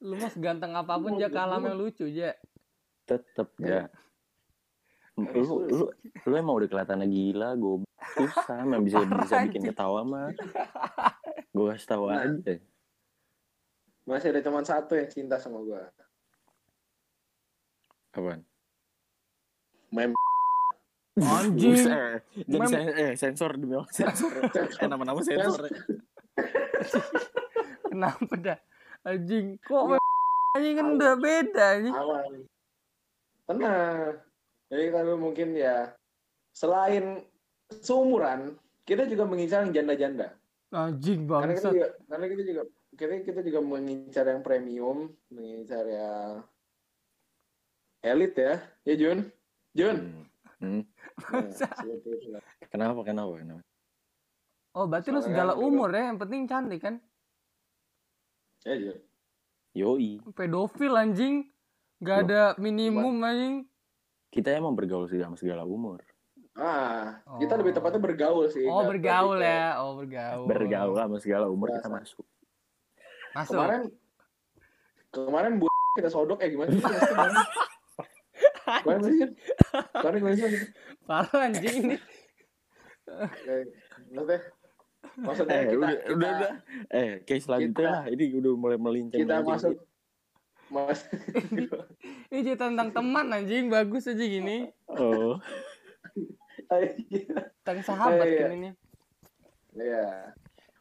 S1: Lu mah seganteng apapun aja kalah yang lucu aja.
S2: tetep
S1: Iya.
S2: ya lu lu lu emang udah kelihatannya gila gue susah emang bisa bisa
S1: Parah,
S2: bikin
S1: anjing.
S2: ketawa mah gue kasih tahu
S3: Nah.
S2: aja
S3: masih ada cuman satu yang cinta sama gue
S2: apaan
S3: Mem-
S1: Anjing.
S2: Buset. jadi
S1: Mem-
S2: sen- eh, sensor demi Allah sensor eh nama-nama sensor ya.
S1: Kenapa dah? Anjing
S3: Iya.
S1: kok anjing kan udah beda anjing.
S3: awan tenang jadi kalau mungkin ya selain seumuran kita juga mengincar yang janda-janda
S1: Anjing
S3: karena kan kita
S1: bangsat.
S3: juga karena kita juga kita kita juga mengincar yang premium mengincar yang elit ya ya Jun Jun
S2: Hmm. Hmm.
S3: Nah, seperti itu.
S2: kenapa kenapa kenapa
S1: Oh, berarti lu
S3: Soalnya
S1: segala
S3: kan dulu-
S1: umur ya, yang penting cantik kan.
S3: ya Jun
S2: yoi
S1: Pedofil anjing.
S3: Iya.
S1: Gak ada minimum anjing.
S2: kita emang bergaul sih sama segala umur
S3: ah
S1: Oh.
S3: kita lebih tepatnya bergaul sih
S1: Oh,
S3: nggak-
S1: bergaul
S3: nggak
S1: ya. Oh, bergaul.
S2: bergaul sama segala umur kita
S3: Biasa.
S2: masuk
S3: gitu.
S1: Masuk.
S3: kemarin kemarin bu kita sodok ya gimana sih kemarin kemarin gimana sih Jun? kemarin gimana sih
S1: Parah anjing ini.
S3: Kayak, Eh, maksudnya Maksudnya
S2: Eh,
S3: kita,
S2: udah,
S3: kita,
S2: udah, udah. Eh, kayak selanjutnya
S3: kita-
S2: lah. Ini udah mulai melincang.
S3: kita
S2: melincang
S3: masuk
S2: gitu.
S3: mas
S1: Ini cerita tentang teman anjing, bagus aja gini.
S2: Oh,
S1: Tentang sahabat
S3: Iya, iya.
S1: kan ini.
S3: Iya.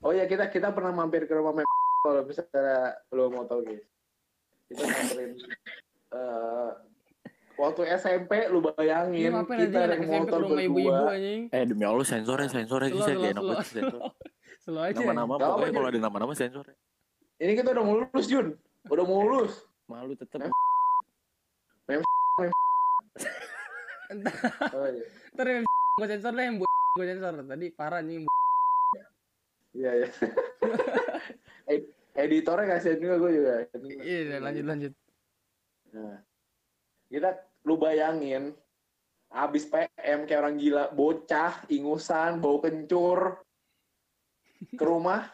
S3: Oh ya kita kita pernah mampir ke rumah Mem kalau misalnya lo mau tahu guys. Kita samperin eh, waktu SMP lu
S1: Ini
S3: bayangin
S1: Iya, ngapain
S3: Iya, kita
S1: anjing anak
S3: naik
S1: SMP ke
S3: motor
S1: rumah ibu-ibu
S3: berdua.
S1: anjing.
S2: eh demi Allah sensornya sensornya
S1: Slow,
S2: sih saya
S1: slow,
S2: gak enak
S1: slow,
S2: banget sih, sensor.
S1: Selalu aja.
S2: Nama-nama
S3: Gak apa-apa,
S2: pokoknya kalau
S3: Jun.
S2: ada nama-nama sensor.
S3: Ini kita udah mau lulus Jun, udah mau lulus.
S2: Malu tetep.
S3: Oh, iya.
S1: Ntar yang gue sensor deh, yang gue sensor. Tadi parah anjing.
S3: Iya iya. Ed- Editornya kasihan juga gue juga.
S1: Iya, lanjut lanjut.
S3: Nah, kita lu bayangin abis PM kayak orang gila bocah ingusan bau kencur ke rumah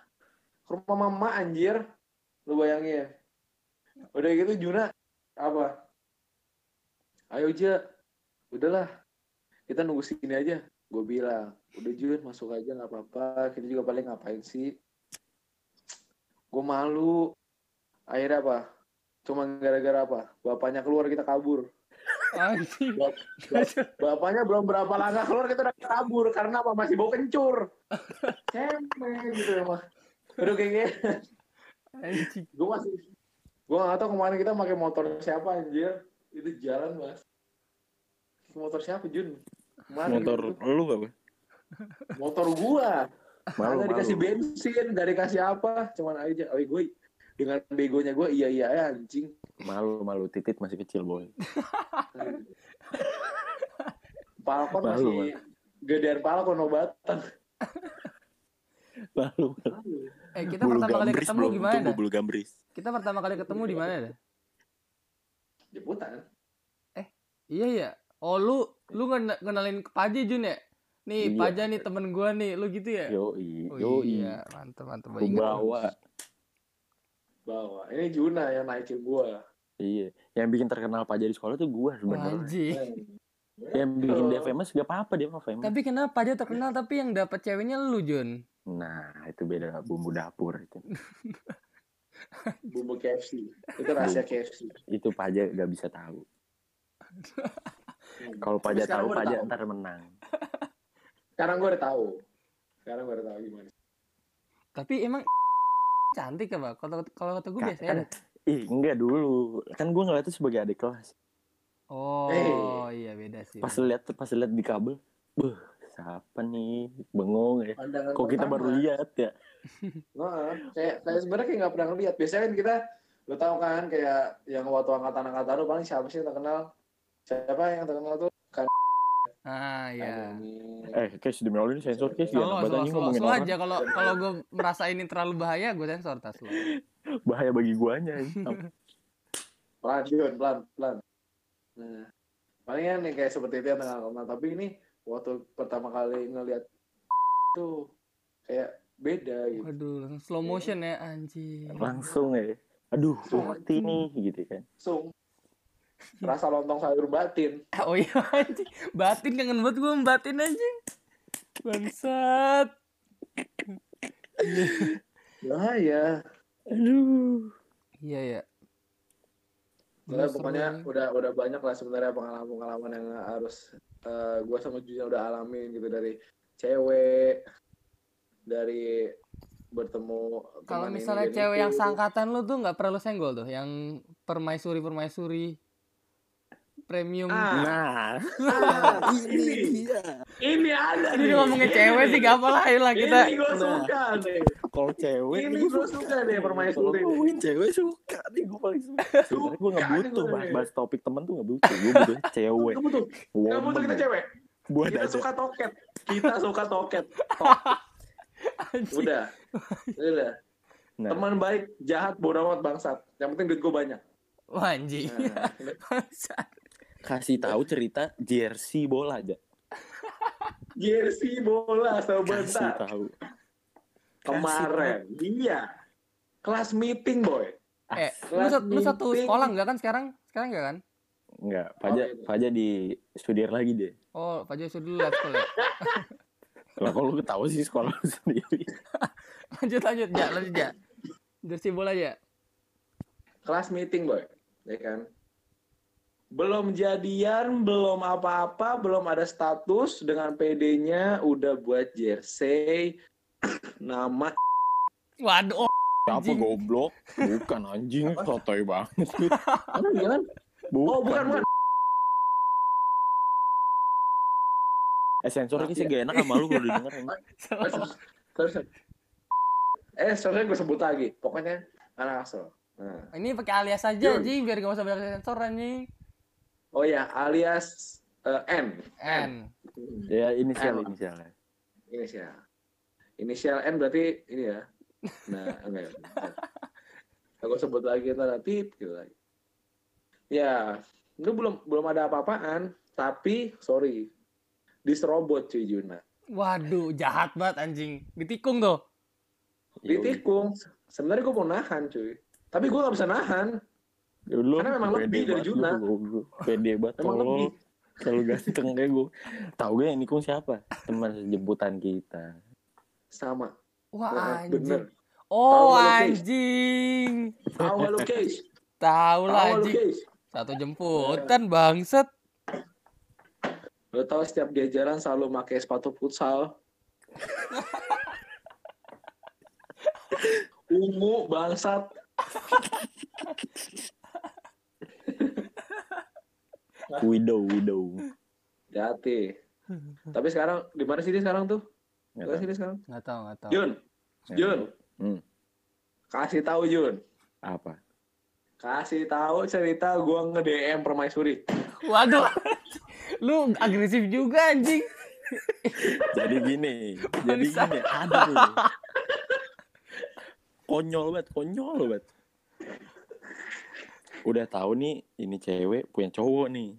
S3: ke rumah mama anjir lu bayangin udah gitu Juna apa ayo aja udahlah kita nunggu sini aja gue bilang udah Jun masuk aja nggak apa-apa kita juga paling ngapain sih gue malu akhirnya apa cuma gara-gara apa bapaknya keluar kita kabur
S1: Anjing.
S3: bapaknya belum berapa langkah keluar kita udah kabur karena apa masih bau kencur cemen gitu ya mah udah kayak gini
S1: Anjing.
S3: gue masih gue nggak tahu kemarin kita pakai motor siapa anjir itu jalan mas motor siapa Jun kemarin
S2: Motor
S3: gitu.
S2: lu apa?
S3: motor gua
S2: Malu,
S3: Kagak dikasih
S2: malu.
S3: bensin, gak dikasih apa, cuman aja. Oh, gue dengan begonya gue iya iya ya anjing.
S2: Malu, malu. Titit masih kecil, boy.
S3: Falcon
S2: Malu,
S3: masih gedean Falcon obatan.
S2: Malu.
S1: Eh, kita pertama kali ketemu
S2: belum
S1: gimana?
S2: tumbuh bulu gambris.
S1: Kita pertama kali ketemu di mana dah?
S3: Jeputan.
S1: Iya ya. Oh lu lu ngena- kenalin ke Paji Jun ya? Nih
S2: Iya.
S1: Paja nih temen gua nih, lu gitu ya?
S2: Yoi,
S1: Oh,
S2: yoi.
S1: iya, mantep mantep.
S2: Lu bawa.
S3: Bawa. Ini Juna yang naikin gue.
S2: Iya. Yang bikin terkenal Paja di sekolah tuh gua sebenarnya.
S1: Anjing.
S2: Yang bikin
S3: Betul.
S2: dia famous gak apa-apa dia mah famous.
S1: Tapi kenapa dia terkenal tapi yang dapat ceweknya lu Jun?
S2: Nah, itu beda bumbu dapur itu.
S3: Bumbu KFC. Itu rahasia KFC.
S2: Itu Paja gak bisa tahu. Kalau Paja
S3: sekarang
S2: tahu,
S3: gua udah
S2: Paja
S3: tahu.
S2: ntar menang.
S3: Sekarang gue udah tahu. Sekarang gue udah tahu gimana.
S1: Tapi emang cantik ya, Pak? Kalau kalau kata gua
S2: Kan-
S1: biasanya ada.
S2: Ih, enggak dulu. Kan gua ngeliatnya sebagai adik kelas.
S1: Oh, iya beda sih.
S2: Pas lihat pas lihat di kabel, beuh, siapa nih? Bengong ya.
S3: Pandangan
S2: Kok kita
S3: pertama.
S2: baru lihat ya?
S3: Nah, kayak, kayak sebenarnya kayak nggak pernah ngeliat. Biasanya kan kita, lo tau kan kayak yang waktu angkatan-angkatan lo paling siapa sih yang terkenal? Siapa yang terkenal tuh?
S1: Ah, iya.
S3: Ini.
S2: Eh, case demi Allah ini sensor case ya.
S1: Slow, slow,
S2: Banyak
S1: slow,
S2: ngomongin
S1: slow
S2: orang.
S1: aja kalau kalau gue merasa ini terlalu bahaya gue sensor tas lo.
S2: Bahaya bagi guanya. ini.
S3: Pelan, Jun, pelan, pelan. Nah, palingan nih kayak seperti itu yang tengah kenal. Tapi ini waktu pertama kali ngeliat tuh kayak beda gitu.
S1: Waduh, langsung slow motion ya anjing.
S2: langsung ya aduh gue mati nih gitu kan
S3: langsung rasa lontong sayur batin
S1: Ah, Oh iya anjing. Batin kangen banget gue batin anjing. Bangsat.
S3: ya ya
S2: aduh
S1: Iya ya.
S3: Nah,
S1: Seru
S3: pokoknya
S1: nih.
S3: udah udah banyak lah sebenarnya pengalaman-pengalaman yang harus eh, gua sama Junya udah alamin gitu dari cewek dari bertemu
S1: kalau
S3: teman ini
S1: misalnya
S3: dan
S1: cewek
S3: itu.
S1: yang sangkatan lu tuh nggak perlu senggol tuh, yang permaisuri permaisuri premium.
S3: Ah.
S2: nah
S3: Ah,
S2: ini dia
S3: ini ada
S1: Ini
S3: nih.
S1: ngomongin cewek sih gak apa-apa ayo lah kita.
S3: ini gua
S2: Nah.
S3: suka nih
S2: kalau cewek
S3: Ini
S2: nih
S3: gua Iya, suka deh, permaisuri.
S2: Iya, Kalau ngomongin cewek suka nih gue paling suka sebenarnya gue nggak
S3: Suka nih
S2: butuh
S3: gua
S2: bahas,
S3: nih.
S2: bahas topik temen tuh nggak butuh gue butuh cewek
S3: kamu tuh kamu tuh
S2: woman
S3: kita
S2: ya.
S3: cewek
S2: buat
S3: kita
S2: aja
S3: suka toket kita suka toket
S1: Anjing.
S3: udah udah
S2: Nah.
S3: teman baik jahat bodoh amat bangsat yang penting duit gua banyak
S1: Wah
S2: Iya.
S1: anjing.
S3: Nah,
S1: Bangsat.
S2: kasih tahu cerita jersey bola aja
S3: jersey bola
S2: kasih
S3: sebentar
S2: tahu
S3: kemarin iya kelas meeting boy
S1: Eh,
S2: As-
S1: lu, sat- lu satu
S3: Meeting.
S1: sekolah enggak kan sekarang? Sekarang enggak kan?
S2: nggak Faja
S3: Oh, iya.
S2: Faja di studier lagi deh
S1: Oh, Pak Joy sudah dulu lab school ya.
S2: Lah kalau lu ketawa sih sekolah lu sendiri.
S1: lanjut lanjut ya lanjut ya jersi bola ya
S3: kelas meeting boy ya kan belum jadian belum apa-apa belum ada status dengan PD-nya udah buat jersey nama
S1: waduh oh,
S2: Siapa
S1: Anjing.
S2: goblok? Bukan anjing, sotoy banget.
S3: apa ya kan
S2: Bukan.
S3: oh bukan bukan
S2: Eh sensornya
S3: Iya.
S2: sih gak enak sama lu kalau didengar. anjing.
S3: Terus, terus, terus. eh soalnya gue sebut lagi pokoknya anak asal nah.
S1: ini pakai alias aja
S3: Yoi.
S1: ji biar gak usah banyak sensor anjing
S3: oh ya alias eh, N
S1: N
S2: Ya inisial inisialnya.
S3: inisial inisial N berarti ini ya nah enggak enggak. aku sebut lagi ntar nanti gitu lagi ya lu belum belum ada apa-apaan tapi sorry diserobot cuy Juna
S1: waduh jahat banget anjing ditikung tuh
S2: Ya
S3: ditikung sebenarnya gue mau nahan cuy tapi gue gak bisa nahan
S2: Ya Lu,
S3: Karena memang
S2: pede
S3: lebih dari
S2: banget
S3: Juna.
S2: lu, goblok. Pede banget
S3: Emang
S2: tolol.
S3: lebih.
S2: Kalau ganteng kayak gue. Tahu gue yang nikung siapa? Teman jemputan kita.
S3: sama
S1: wah Ah, anjing
S3: bener
S1: oh
S3: Tahu lu, Ki.
S1: anjing
S3: awal lu case
S1: tahu lah
S3: awal lu
S1: anjing
S3: case
S1: satu jemputan bangset
S3: lu tau setiap dia jalan selalu pakai sepatu futsal ungu bangsat
S2: Widow, widow.
S3: Jati. Tapi sekarang di mana sih dia sekarang tuh?
S2: Nggak
S3: Di mana sih dia sekarang?
S1: nggak tahu nggak tahu
S3: Jun,
S2: tahu.
S3: Jun,
S2: Hmm,
S3: kasih tahu Jun.
S2: apa?
S3: Kasih tahu cerita gua nge-DM Permaisuri.
S1: waduh lu agresif juga anjing
S2: Jadi gini, jadi
S1: Bangsa.
S2: gini, ada tuh. Konyol banget, konyol banget. Udah tahu nih, ini cewek punya cowok nih.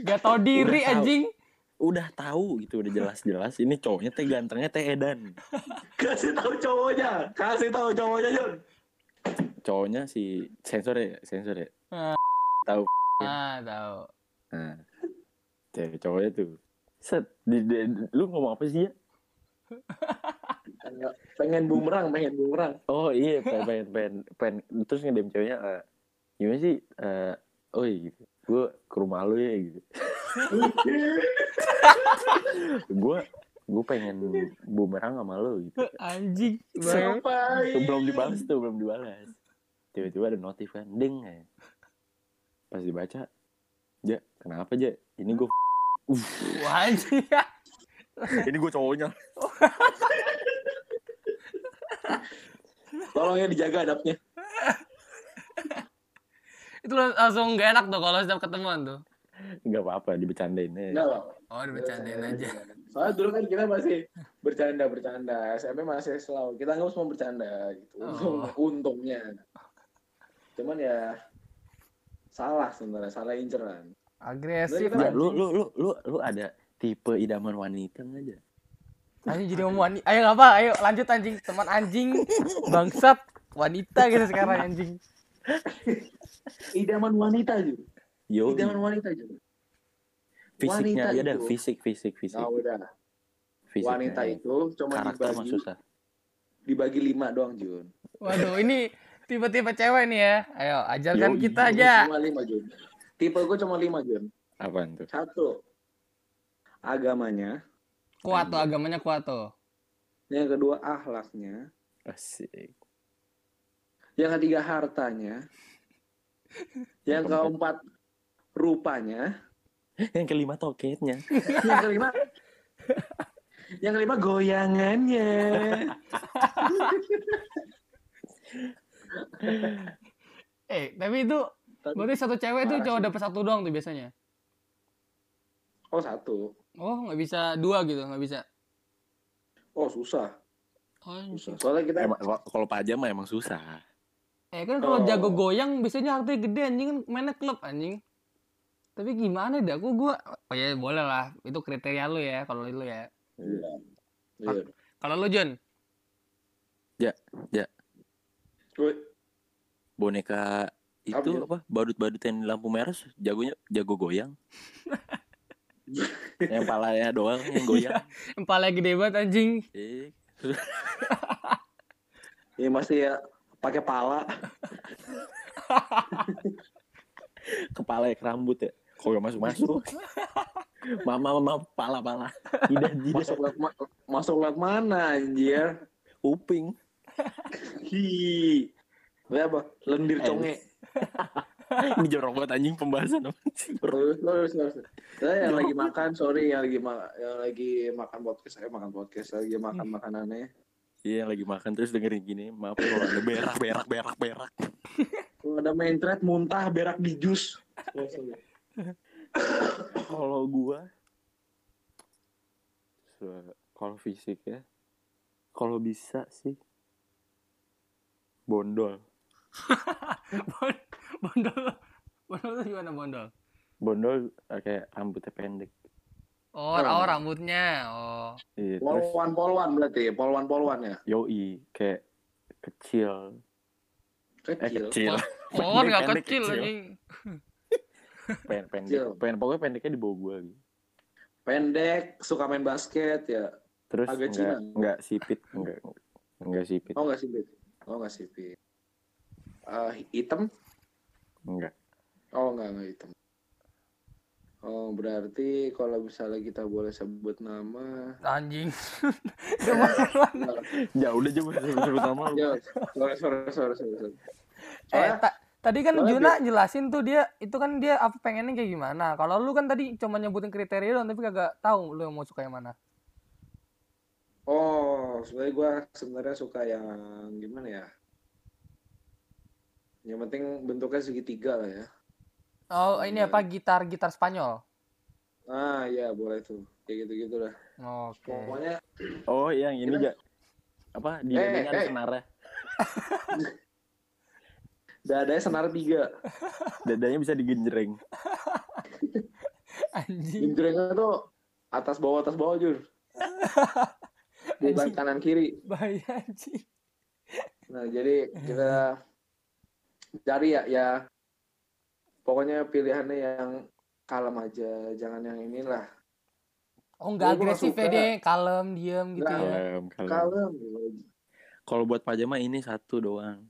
S1: nggak tahu diri
S2: Udah tahu.
S1: anjing
S2: Udah tahu gitu, udah jelas-jelas. Ini cowoknya teh gantengnya teh Edan.
S3: Kasih tahu cowoknya. Kasih tahu cowoknya Jun.
S2: Cowoknya si sensor ya, sensor ya.
S1: ah
S3: Iya.
S1: tahu
S2: Nah, cewek cowoknya tuh. Set, di, di- lu ngomong apa sih ya?
S3: Eh, Pengen bumerang, pengen bumerang.
S2: Oh iya, pengen pengen pengen, pengen. terus ngedem ceweknya eh, gimana sih? Eh, oh iya gitu. Gue ke rumah lu ya gitu. Gue gue pengen bumerang sama lu gitu.
S1: anjing
S3: Sampai.
S2: Belum dibalas tuh, belum dibalas. Tiba-tiba ada notif kan, deng ya. Pas dibaca, Ja, kenapa Ja? Ini gue
S1: Wah, anjing
S2: ini gue cowoknya.
S3: Tolong ya dijaga adabnya.
S1: itu lang- langsung gak enak tuh kalau setiap ketemuan tuh
S2: Gak apa-apa, dibecandain aja.
S3: Enggak apa-apa.
S1: oh
S3: Iya,
S1: dibercandain aja
S3: Soalnya dulu kan kita masih bercanda bercanda. SMP masih selalu kita nggak semua bercanda gitu. Untung-
S1: Oh.
S3: Untungnya. Cuman ya salah sebenarnya salah kan. inceran.
S1: agresif
S2: Ja,
S1: anjing.
S2: lu lu lu lu lu ada tipe idaman wanita nggak aja?
S1: anjing jadi om wanita ayo apa ayo lanjut anjing teman anjing bangsat wanita gitu sekarang anjing
S3: Idaman wanita juga.
S2: Yo,
S3: Idaman wanita juga.
S2: fisiknya
S3: wanita
S2: aja dah,
S3: itu.
S2: fisik, fisik, fisik.
S3: Nah udah.
S2: Fisiknya
S3: wanita
S2: aja.
S3: itu cuma
S2: karakter mah
S3: dibagi
S2: susah.
S3: dibagi lima doang Jun.
S1: waduh ini tiba-tiba cewek nih ya ayo ajarkan
S2: Yoi.
S1: kita
S3: Gua
S1: aja
S3: Cuma lima Jun. Tipe gue cuma lima Jun.
S2: Apaan tuh?
S3: Satu agamanya,
S1: kuat tuh agamanya kuat tuh
S3: yang kedua akhlaknya,
S2: Asik.
S3: yang ketiga hartanya, yang
S2: Yang
S3: keempat rupanya,
S2: Yang kelima toketnya.
S3: yang kelima yang kelima goyangannya.
S1: eh tapi itu berarti satu cewek tuh
S3: Parah
S1: cowok
S3: sih.
S1: dapet satu doang tuh biasanya
S3: Oh satu,
S1: oh nggak bisa dua gitu nggak bisa
S3: oh susah,
S1: Anjing.
S3: susah. Soalnya kita
S2: Emang kalau pajak mah emang susah.
S1: Eh kan kalau
S3: Oh.
S1: jago goyang biasanya harganya gede anjing kan mainnya klub anjing. Tapi gimana dah aku gua oh ya boleh lah itu kriteria lu ya kalau lu ya.
S3: Iya.
S1: Kalau lu Jun,
S3: Gue-
S2: Boneka itu
S3: Apa, Jun?
S2: apa? Badut-badut yang lampu merah jagonya jago goyang. yang palanya doang yang goyang
S1: Empalnya gede banget anjing.
S2: Eh,
S3: ya masih ya pakai pala
S2: kepala ya kerambut ya kok masuk masuk mama mama pala pala tidak tidak
S3: masuk lewat ma- masuk lewat mana anjir
S2: uping
S3: hi Lihat apa lendir
S2: Eh,
S3: conge
S2: ini jorok banget anjing pembahasan apa sih?
S3: terus terus terus saya yang
S2: Jorok.
S3: lagi makan sorry yang lagi ma- yang lagi makan podcast saya makan podcast saya lagi makan makanannya
S2: iya lagi makan terus dengerin gini maaf ya kalau ada berak berak berak berak
S3: kalau ada main thread muntah berak di jus Langsung.
S2: kalau gua se- kalau fisik ya kalau bisa sih bondol
S1: Bon- bondol. Bondol tuh gimana bondol?
S2: bondol eh, kayak rambutnya pendek
S1: Oh, oh rambutnya. Oh.
S2: iya terus
S3: polwan polwan berarti polwan polwan ya
S2: yoi kayak kecil eh
S3: kecil
S2: kecil
S1: Oh, kan nggak
S2: Pendek,
S1: kecil
S2: kecil.
S1: anjing.
S2: Pen- pendek
S3: Kecil.
S2: Pen- pokoknya pendeknya di bawah gua gitu
S3: pendek suka main basket ya
S2: terus nggak
S3: Agak Cina.
S2: nggak sipit nggak nggak sipit
S3: oh nggak sih Bit? oh nggak sih Bit? Eh, hitam
S2: nggak
S3: Oh enggak enggak hitam. Oh berarti kalau misalnya kita boleh sebut nama,
S1: Anjing.
S2: ya udah coba sebut nama lu
S3: ya, sorry sorry sorry sorry. sorry.
S1: eh,
S3: Soalnya
S1: ta- tadi kan
S3: soalnya
S1: Juna jelasin tuh dia itu kan dia apa pengennya kayak gimana. Kalau lu kan tadi cuma nyebutin kriteria doang tapi kagak tahu lu yang mau suka yang mana.
S3: oh sebenarnya gue sebenarnya suka yang gimana ya? Yang penting bentuknya segitiga lah ya.
S1: Oh, ini
S3: Iya.
S1: apa gitar-gitar Spanyol.
S3: Ah iya boleh tuh, kayak gitu gitu lah.
S1: Oke.
S3: Pokoknya
S2: oh yang ini
S3: Kita-
S2: ja apa di eh,
S3: eh.
S2: senarnya
S3: dadanya senar tiga.
S2: dadanya bisa digenjreng
S1: Anjing.
S3: Genjrengnya tuh atas bawah atas bawah jur. Bukan
S1: Anjing.
S3: kanan kiri.
S1: Bahaya anjing.
S3: Nah, jadi kita cari ya, ya pokoknya pilihannya yang kalem aja, jangan yang inilah.
S1: Oh, enggak
S3: Gua- gua
S1: agresif ya
S3: suka.
S1: dia, kalem, diem gitu
S3: Nah,
S1: ya.
S2: Kalem, kalem.
S3: Kalem,
S2: Kalau buat pajama ini satu doang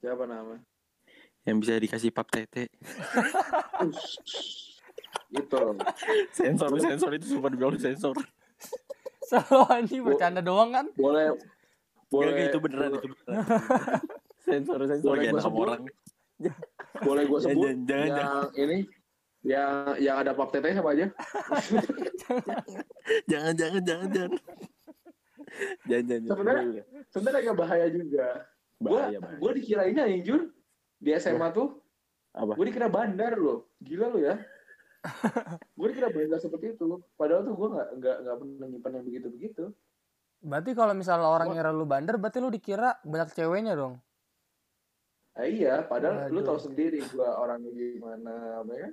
S3: siapa nama?
S2: yang bisa dikasih pap tete.
S3: Ush. Gitu loh.
S2: Sensor, sensor itu super dibilang sensor.
S1: Selalu anjing bercanda doang kan.
S3: Boleh boleh
S2: Boleh, itu beneran itu beneran. sensor, sensor
S3: Boleh
S2: jangan
S3: gua
S2: sama
S3: sebut?
S2: orang.
S3: boleh gue sebut
S2: Ya, Jangan, jangan,
S3: yang ini yang yang ada pap teteh siapa aja?
S2: Jangan, jangan, jangan, jangan. jangan, jangan. jangan.
S3: Sebenarnya- Sebenarnya agak bahaya juga.
S2: bahaya,
S3: Gue
S2: bahaya.
S3: gue dikirainnya yang jur di SMA tuh
S2: Apa?
S3: Gue dikira bandar loh, gila lo ya. gue dikira bandar seperti itu. Padahal tuh gue nggak nggak nggak pernah nyimpan yang begitu begitu.
S1: Berarti kalau misalnya orang
S3: Gua-
S1: ngira lu bandar, berarti lu dikira banyak ceweknya dong.
S3: Ah, iya, padahal lu
S1: Waduh.
S3: tau sendiri gue orangnya gimana, apa ya?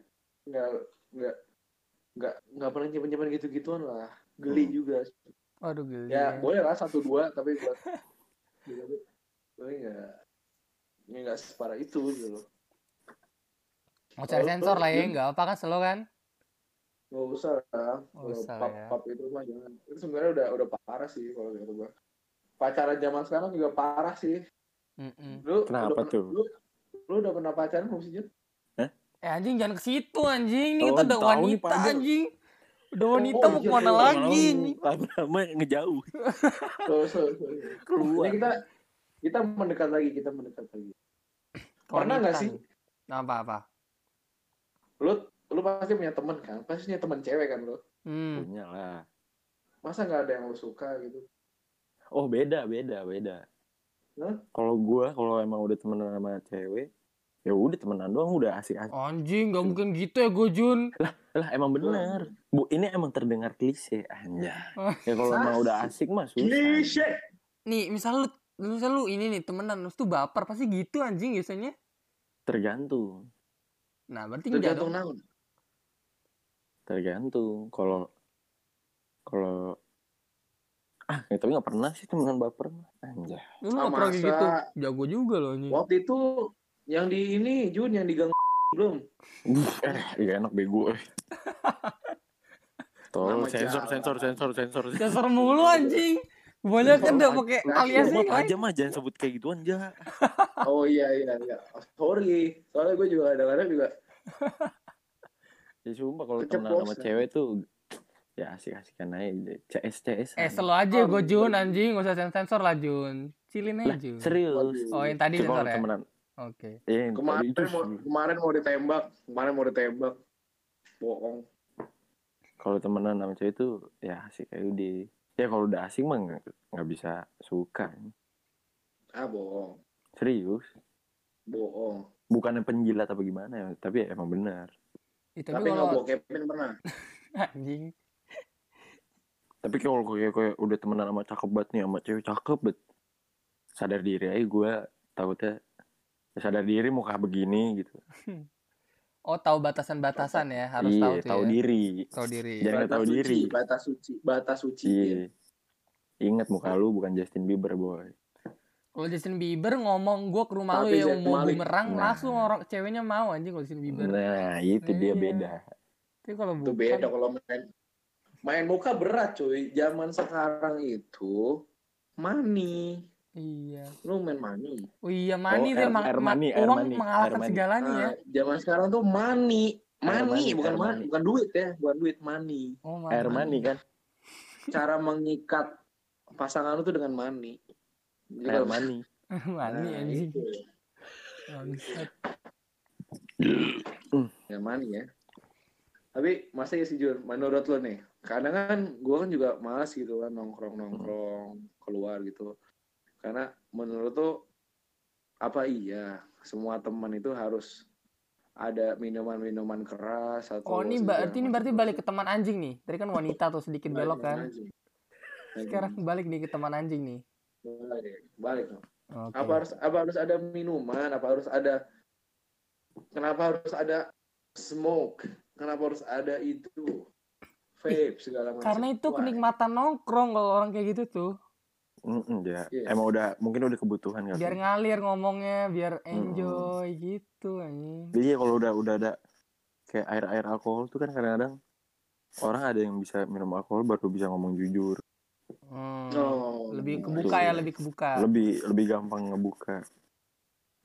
S3: Nggak nggak nggak nggak pernah nyimpan nyimpan gitu gituan lah. Geli
S2: Hmm.
S3: juga.
S1: Waduh gila.
S3: Ya boleh lah satu dua, tapi buat gue nggak ini nggak separah itu gitu loh.
S1: Mau cari
S3: Kalau
S1: sensor
S3: lu,
S1: lah ya,
S3: Jun?
S1: nggak apa kan selalu kan.
S3: Nggak usah lah.
S1: Nggak usah
S3: pap,
S1: ya.
S3: pap itu mah jangan. Itu sebenarnya udah udah parah sih kalau gitu gua. Pacaran zaman sekarang juga parah sih.
S1: Mm-mm.
S3: Lu
S2: Kenapa
S3: udah pernah-
S2: tuh?
S3: Lu, lu udah pernah pacaran belum sih, Jun?
S1: Eh anjing jangan ke situ anjing. Ini kita
S2: Oh,
S1: udah
S2: tahu nih,
S1: wanita
S2: Pak Jun.
S1: anjing. Udah wanita
S3: Oh,
S1: mau
S3: iya,
S1: kemana
S3: iya,
S1: lagi? anjing?
S2: Lama-lama ngejauh.
S3: So, so, so.
S2: Keluar.
S3: Ini kita kita mendekat lagi, kita mendekat lagi. Pernah
S1: Wanita
S3: nggak sih?
S1: nih. Nah, apa apa?
S3: Lu lu pasti punya teman kan? Pasti punya teman cewek kan lu.
S1: Hmm.
S2: Punya lah.
S3: Masa nggak ada yang lu suka gitu?
S2: Oh beda, beda, beda.
S3: Hah?
S2: Kalau gua kalau emang udah temenan sama cewek, ya udah temenan doang udah asik-asik.
S1: Anjing
S3: Iya.
S1: nggak mungkin gitu ya gue Jun.
S2: Lah emang bener. Bu, ini emang terdengar klise anjay. Ya kalau emang udah asik mah susah.
S3: Klise.
S1: Nih misalnya lu, misalnya lu ini nih temenan, terus tuh baper pasti gitu anjing biasanya.
S2: Tergantung,
S1: Nah berarti enggak
S3: Tergantung
S1: dong.
S3: naon.
S2: tergantung. Kalau kalau ah, ya, tapi nggak pernah sih temenan baper mah. Anjay.
S1: Lu nggak
S3: Ah,
S1: pernah kayak
S3: masa?
S1: gitu. Jago juga loh anjing.
S3: Waktu itu yang di ini Jun yang di gang belum.
S2: Buh, eh, ya enak bego. eh. Tolong
S3: Nama
S2: sensor,
S3: jalan.
S2: sensor, sensor, sensor, sensor.
S1: Sensor mulu anjing. Banyak kan udah pakai
S3: Nggak,
S1: alias
S2: Ya, Buat
S1: ini.
S2: aja mah jangan sebut kayak gituan aja.
S3: Oh iya iya iya. Oh, sorry, soalnya gue juga kadang-kadang juga
S2: Ya sumpah kalau kenal sama
S3: Keceplosan.
S2: cewek tuh ya asik-asikan aja. CS CS.
S1: Eh, selo aja gue Jun anjing, enggak usah sensor lah Jun. Cilin aja
S2: Lah,
S1: Jun.
S2: serius.
S1: Oh, yang tadi
S2: Coba
S1: sensor
S2: kalau
S1: ya.
S2: temenan.
S1: Oke.
S2: Iya, yang tadi
S3: kemarin
S2: itu
S3: mau kemarin mau ditembak, kemarin mau ditembak. Bohong.
S2: kalau temenan sama cewek itu ya asik aja di. Ya kalau udah asik mah nggak nggak bisa suka.
S3: Ah, bohong.
S2: Serius.
S3: Bohong.
S2: Bukannya penjilat apa gimana ya, tapi ya emang benar.
S1: Ih, tapi,
S3: Tapi nggak
S1: kalau
S3: bokepin pernah.
S1: anjing
S2: Tapi kalau kayak kayak udah temenan sama cakep banget nih sama cewek cakep bet. Sadar diri aja gue takutnya ya sadar diri muka begini gitu.
S1: Oh, tahu batasan-batasan ya, harus
S2: iya,
S1: tahu tuh ya.
S2: diri.
S1: Tahu diri.
S2: Jangan nggak
S3: Batas
S2: tahu
S3: suci,
S2: diri.
S3: batas suci, batas suci.
S2: Iya. Ingat muka lu bukan Justin Bieber boy.
S1: Kalau Justin Bieber ngomong gue ke rumah lu
S3: Tapi
S1: ya
S3: Zayn
S1: mau
S3: Malik.
S1: bumerang
S2: Nah.
S1: langsung orang ceweknya mau anjing kalau Justin Bieber.
S2: Nah itu dia
S1: Iya.
S2: beda.
S1: Tapi kalau
S3: Itu
S1: bukan
S3: beda kalau main main muka berat cuy. Zaman sekarang itu money.
S1: Iya.
S3: Lu main money.
S1: Oh iya money
S2: Oh,
S1: tuh
S2: air-
S1: emang
S2: air
S1: ma-
S2: money, air
S1: uang
S2: money,
S1: mengalahkan
S2: air money.
S1: segalanya ya.
S3: Nah, zaman sekarang tuh money.
S2: Air money,
S3: Money,
S2: air
S3: bukan money.
S2: money.
S3: bukan duit ya, bukan duit money.
S1: Oh, money.
S2: Air money kan.
S3: Cara mengikat pasangan lu tuh dengan money. Jadi
S2: Air
S3: kalau-
S2: money.
S1: money
S3: Nah,
S1: anjing.
S3: itu ya.
S1: Bangsat.
S3: Ya money ya. Tapi masa ya sih Jun, menurut lo nih, kadang kan gue kan juga malas gitu kan nongkrong-nongkrong
S1: Hmm.
S3: keluar gitu. Karena menurut tuh apa iya semua teman itu harus ada minuman-minuman keras atau
S1: Oh, ini berarti ini berarti balik ke teman anjing nih. Tadi kan wanita tuh sedikit belok kan.
S3: Nah,
S1: Sekarang balik nih ke teman anjing nih.
S3: balik, balik.
S1: Oke.
S3: apa harus apa harus ada minuman apa harus ada kenapa harus ada smoke kenapa harus ada itu vape segala macam
S1: Karena itu
S3: Why?
S1: kenikmatan nongkrong kalau orang kayak gitu tuh.
S2: Mm-mm, ya.
S3: Iya.
S2: Emang udah mungkin udah kebutuhan kali. ya.
S1: Biar ngalir ngomongnya, biar enjoy gitu anjing.
S2: Iya kalau udah udah ada kayak air air alkohol tuh kan kadang-kadang orang ada yang bisa minum alkohol baru bisa ngomong jujur
S1: Hmm.
S3: Oh,
S1: lebih
S3: I
S1: kebuka ya,
S3: see.
S1: lebih kebuka.
S2: lebih lebih gampang ngebuka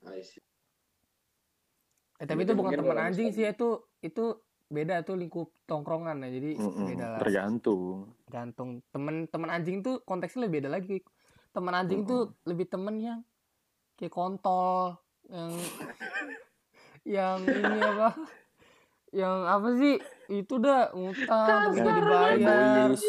S3: I see.
S1: Eh, tapi
S3: Mungkin-
S1: itu bukan
S3: mungkin
S1: teman
S3: kalau
S1: anjing sih ya,
S3: misalnya-
S1: itu itu beda tuh lingkup tongkrongan ya. Jadi
S2: Mm-mm,
S1: beda lah.
S2: tergantung
S1: Gantung. Temen teman anjing tuh konteksnya lebih beda lagi. Teman anjing tuh lebih temen yang kayak kontol yang yang ini apa? yang apa sih? Itu dah ngutang tapi nggak dibayar.
S2: egois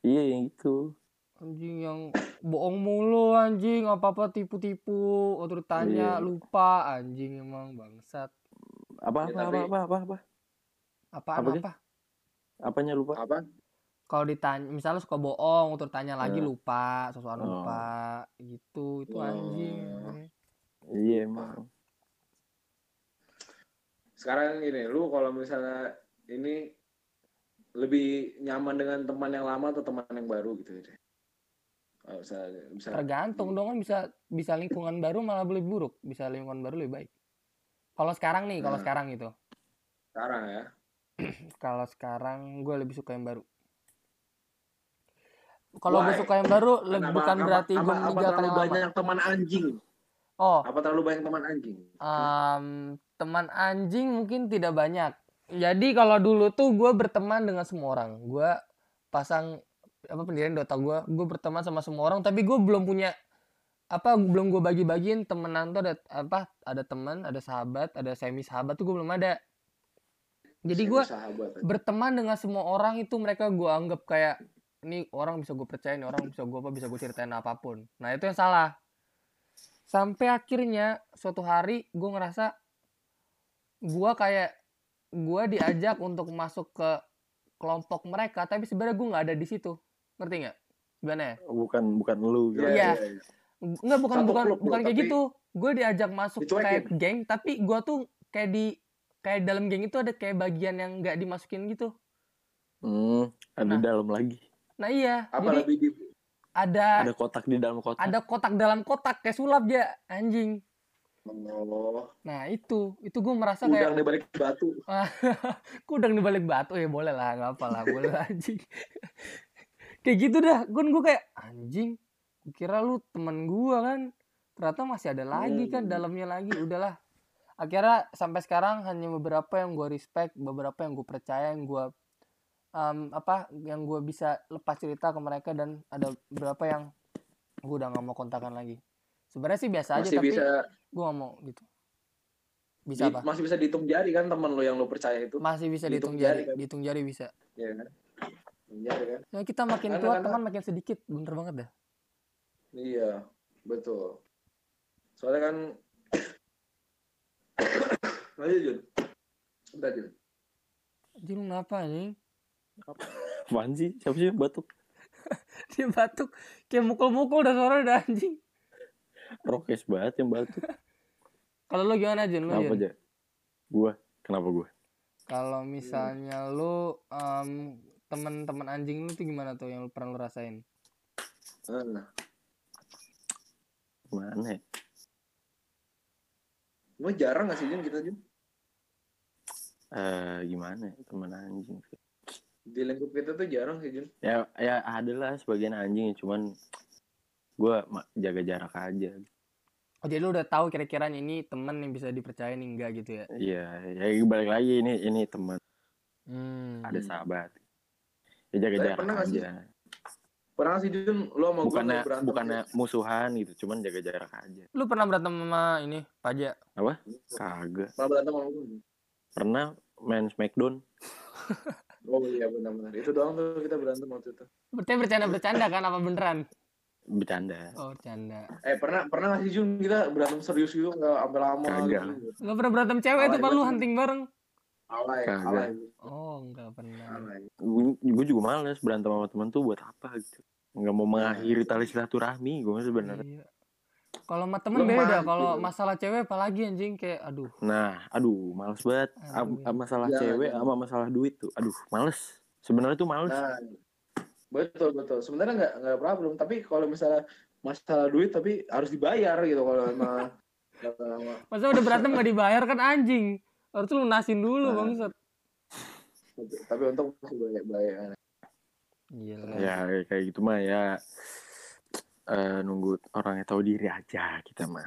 S2: iya yang itu
S1: Anjing yang bohong mulu anjing, apa-apa tipu-tipu, waktu ditanya
S2: Iya.
S1: lupa anjing emang bangsat.
S2: apa
S3: Ya,
S2: apa apa
S3: tapi-
S2: apa apa apa
S1: Apaan
S2: Apa
S1: apa?
S2: sih? apanya lupa
S3: apa
S1: kalau ditanya misalnya suka bohong terus tanya lagi
S2: Eh.
S1: lupa sosokan
S2: Oh.
S1: lupa gitu itu
S3: Iya. Oh.
S1: anjing
S2: iya emang
S3: sekarang gini lu kalau misalnya ini lebih nyaman dengan teman yang lama atau teman yang baru gitu ya bisa bisa
S1: tergantung dong kan bisa bisa lingkungan baru malah lebih buruk bisa lingkungan baru lebih baik kalau sekarang nih kalau
S3: Nah.
S1: sekarang gitu
S3: sekarang ya
S1: kalau sekarang gue lebih suka yang baru kalau gue
S3: Why?
S1: suka yang baru le-
S3: Kenapa-
S1: bukan
S3: apa-
S1: berarti
S3: apa,
S1: gue
S3: apa
S1: meninggalkan
S3: terlalu
S1: yang lama
S3: banyak teman anjing
S1: oh
S3: apa terlalu banyak teman anjing
S1: Em, teman anjing mungkin tidak banyak. Jadi kalau dulu tuh gue berteman dengan semua orang. Gue pasang apa pendirian Dota gue, gue berteman sama semua orang. Tapi gue belum punya apa belum gue bagi-bagiin temenan tuh ada apa ada teman, ada sahabat, ada semi sahabat tuh gue belum ada. Jadi iya.
S3: Saya
S1: gue
S3: sahabat
S1: berteman dengan semua orang itu mereka gue anggap kayak ini orang bisa gue percaya ini orang bisa gue apa bisa gue ceritain apapun nah itu yang salah sampai akhirnya suatu hari gue ngerasa gue kayak gue diajak untuk masuk ke kelompok mereka tapi sebenarnya gue nggak ada di situ ngerti nggak gimana ya
S2: bukan bukan lu gitu.
S1: Iya. nggak bukan
S3: Satu
S1: bukan
S3: klub lu,
S1: bukan kayak
S3: tapi
S1: gitu gue diajak masuk kayak
S3: dicuekin.
S1: geng tapi gue tuh kayak di kayak dalam geng itu ada kayak bagian yang nggak dimasukin gitu
S2: Hmm,
S1: Nah.
S2: ada dalam lagi
S1: nah iya
S3: apa
S1: jadi
S3: lebih di
S1: ada
S2: ada kotak di dalam kotak
S1: ada kotak dalam kotak kayak sulap ya anjing
S3: Allah.
S1: Nah itu, itu gue merasa kayak
S3: Udang di balik batu.
S1: kudang di balik batu ya boleh lah nggak apa lah boleh lah, anjing kayak gitu dah gue gue kayak anjing gua kira lu temen gue kan ternyata masih ada lagi kan
S3: Hmm.
S1: dalamnya lagi udahlah akhirnya sampai sekarang hanya beberapa yang gue respect beberapa yang gue percaya yang gue apa yang gue bisa lepas cerita ke mereka dan ada beberapa yang gue udah nggak mau kontakan lagi sebenarnya sih biasa aja
S3: Masih
S1: tapi
S3: bisa
S1: gue nggak mau gitu bisa
S3: di-
S1: apa
S3: masih bisa dihitung jari kan temen lo yang lo percaya itu.
S1: masih bisa dihitung
S3: dihitung
S1: jari
S3: jari kan?
S1: dihitung jari bisa
S3: Iya kan? Hitung Jari kan?
S1: Ya kita makin
S3: Karena-
S1: tua
S3: karena-
S1: teman makin sedikit, bener banget dah.
S3: Iya, betul. Soalnya kan Lanjut, Jun. Bentar, Jun.
S1: Jadi lu kenapa nih?
S2: Apaan sih? Siapa sih yang batuk?
S1: Dia batuk kayak mukul-mukul udah suara udah anjing.
S2: Rokes banget yang batuk.
S1: Kalau lu gimana Jun? Lu, ya.
S2: Kenapa
S1: Jun?
S2: aja? Gua. Kenapa gua?
S1: Kalau misalnya lu em, teman-teman anjing lu tuh gimana tuh yang lu pernah lu rasain?
S3: Nah,
S2: Mana ya?
S3: emang jarang nggak sih Jun kita Jun?
S2: Eh, gimana ya? Temen anjing.
S3: Di lingkup kita tuh jarang sih Jun.
S2: Ya, ya ada lah sebagian anjing. ya, Cuman gua ma- jaga jarak aja.
S1: Oh, jadi lu udah tahu kira-kira ini teman yang bisa dipercaya nih enggak gitu ya?
S2: Iya, ya balik lagi ini ini teman
S1: Hmm.
S2: ada
S3: Hmm.
S2: sahabat. Ya jaga
S3: Tapi
S2: jarak
S3: pernah nggak sih
S2: aja.
S3: Pernah nggak sih Jun lo sama gue
S2: Bukannya
S3: berantem
S2: bukannya musuhan gitu, cuman jaga jarak aja.
S1: Lu pernah berantem sama ini Paja?
S3: gitu?
S2: Kagak.
S3: Malah berantem sama gue.
S2: Pernah main Smackdown?
S3: Oh iya benar-benar. Itu doang tuh kita berantem waktu itu.
S1: Berarti bercanda-bercanda kan apa beneran?
S2: Bercanda.
S1: Oh, bercanda.
S3: Eh pernah pernah nggak sih Jun kita berantem serius gitu nggak sampai lama?
S2: Kagak.
S3: Gitu.
S1: Enggak pernah berantem cewek
S3: Alay
S1: tuh Pak lu
S3: banget.
S1: hunting bareng.
S3: Alay,
S2: Kagak.
S3: alay,
S1: Oh, enggak pernah.
S3: alay.
S2: Gue juga males berantem sama temen tuh buat apa gitu. Nggak
S3: Nah,
S2: mau mengakhiri tali silaturahmi gue sebenarnya.
S1: Iya. Kalau sama temen
S3: Lemah
S1: beda,
S3: gitu.
S1: kalau masalah cewek apalagi anjing kayak aduh.
S2: Nah, aduh, males banget. A-
S1: Aduh. iya.
S2: a- masalah
S3: Jangan,
S2: cewek
S3: jangan.
S2: sama masalah duit tuh. Aduh, males. Sebenarnya tuh males.
S3: Nah, betul betul. Sebenarnya nggak nggak problem. Tapi kalau misalnya masalah duit tapi harus dibayar gitu kalau emang kalau-
S1: Masa udah berantem gak dibayar kan anjing. Harus lu lunasin dulu
S3: Nah.
S1: bangsat.
S3: tapi untuk masih banyak bayar.
S1: Gila.
S2: ya kayak gitu mah ya eh, nunggu orangnya tahu diri aja kita mah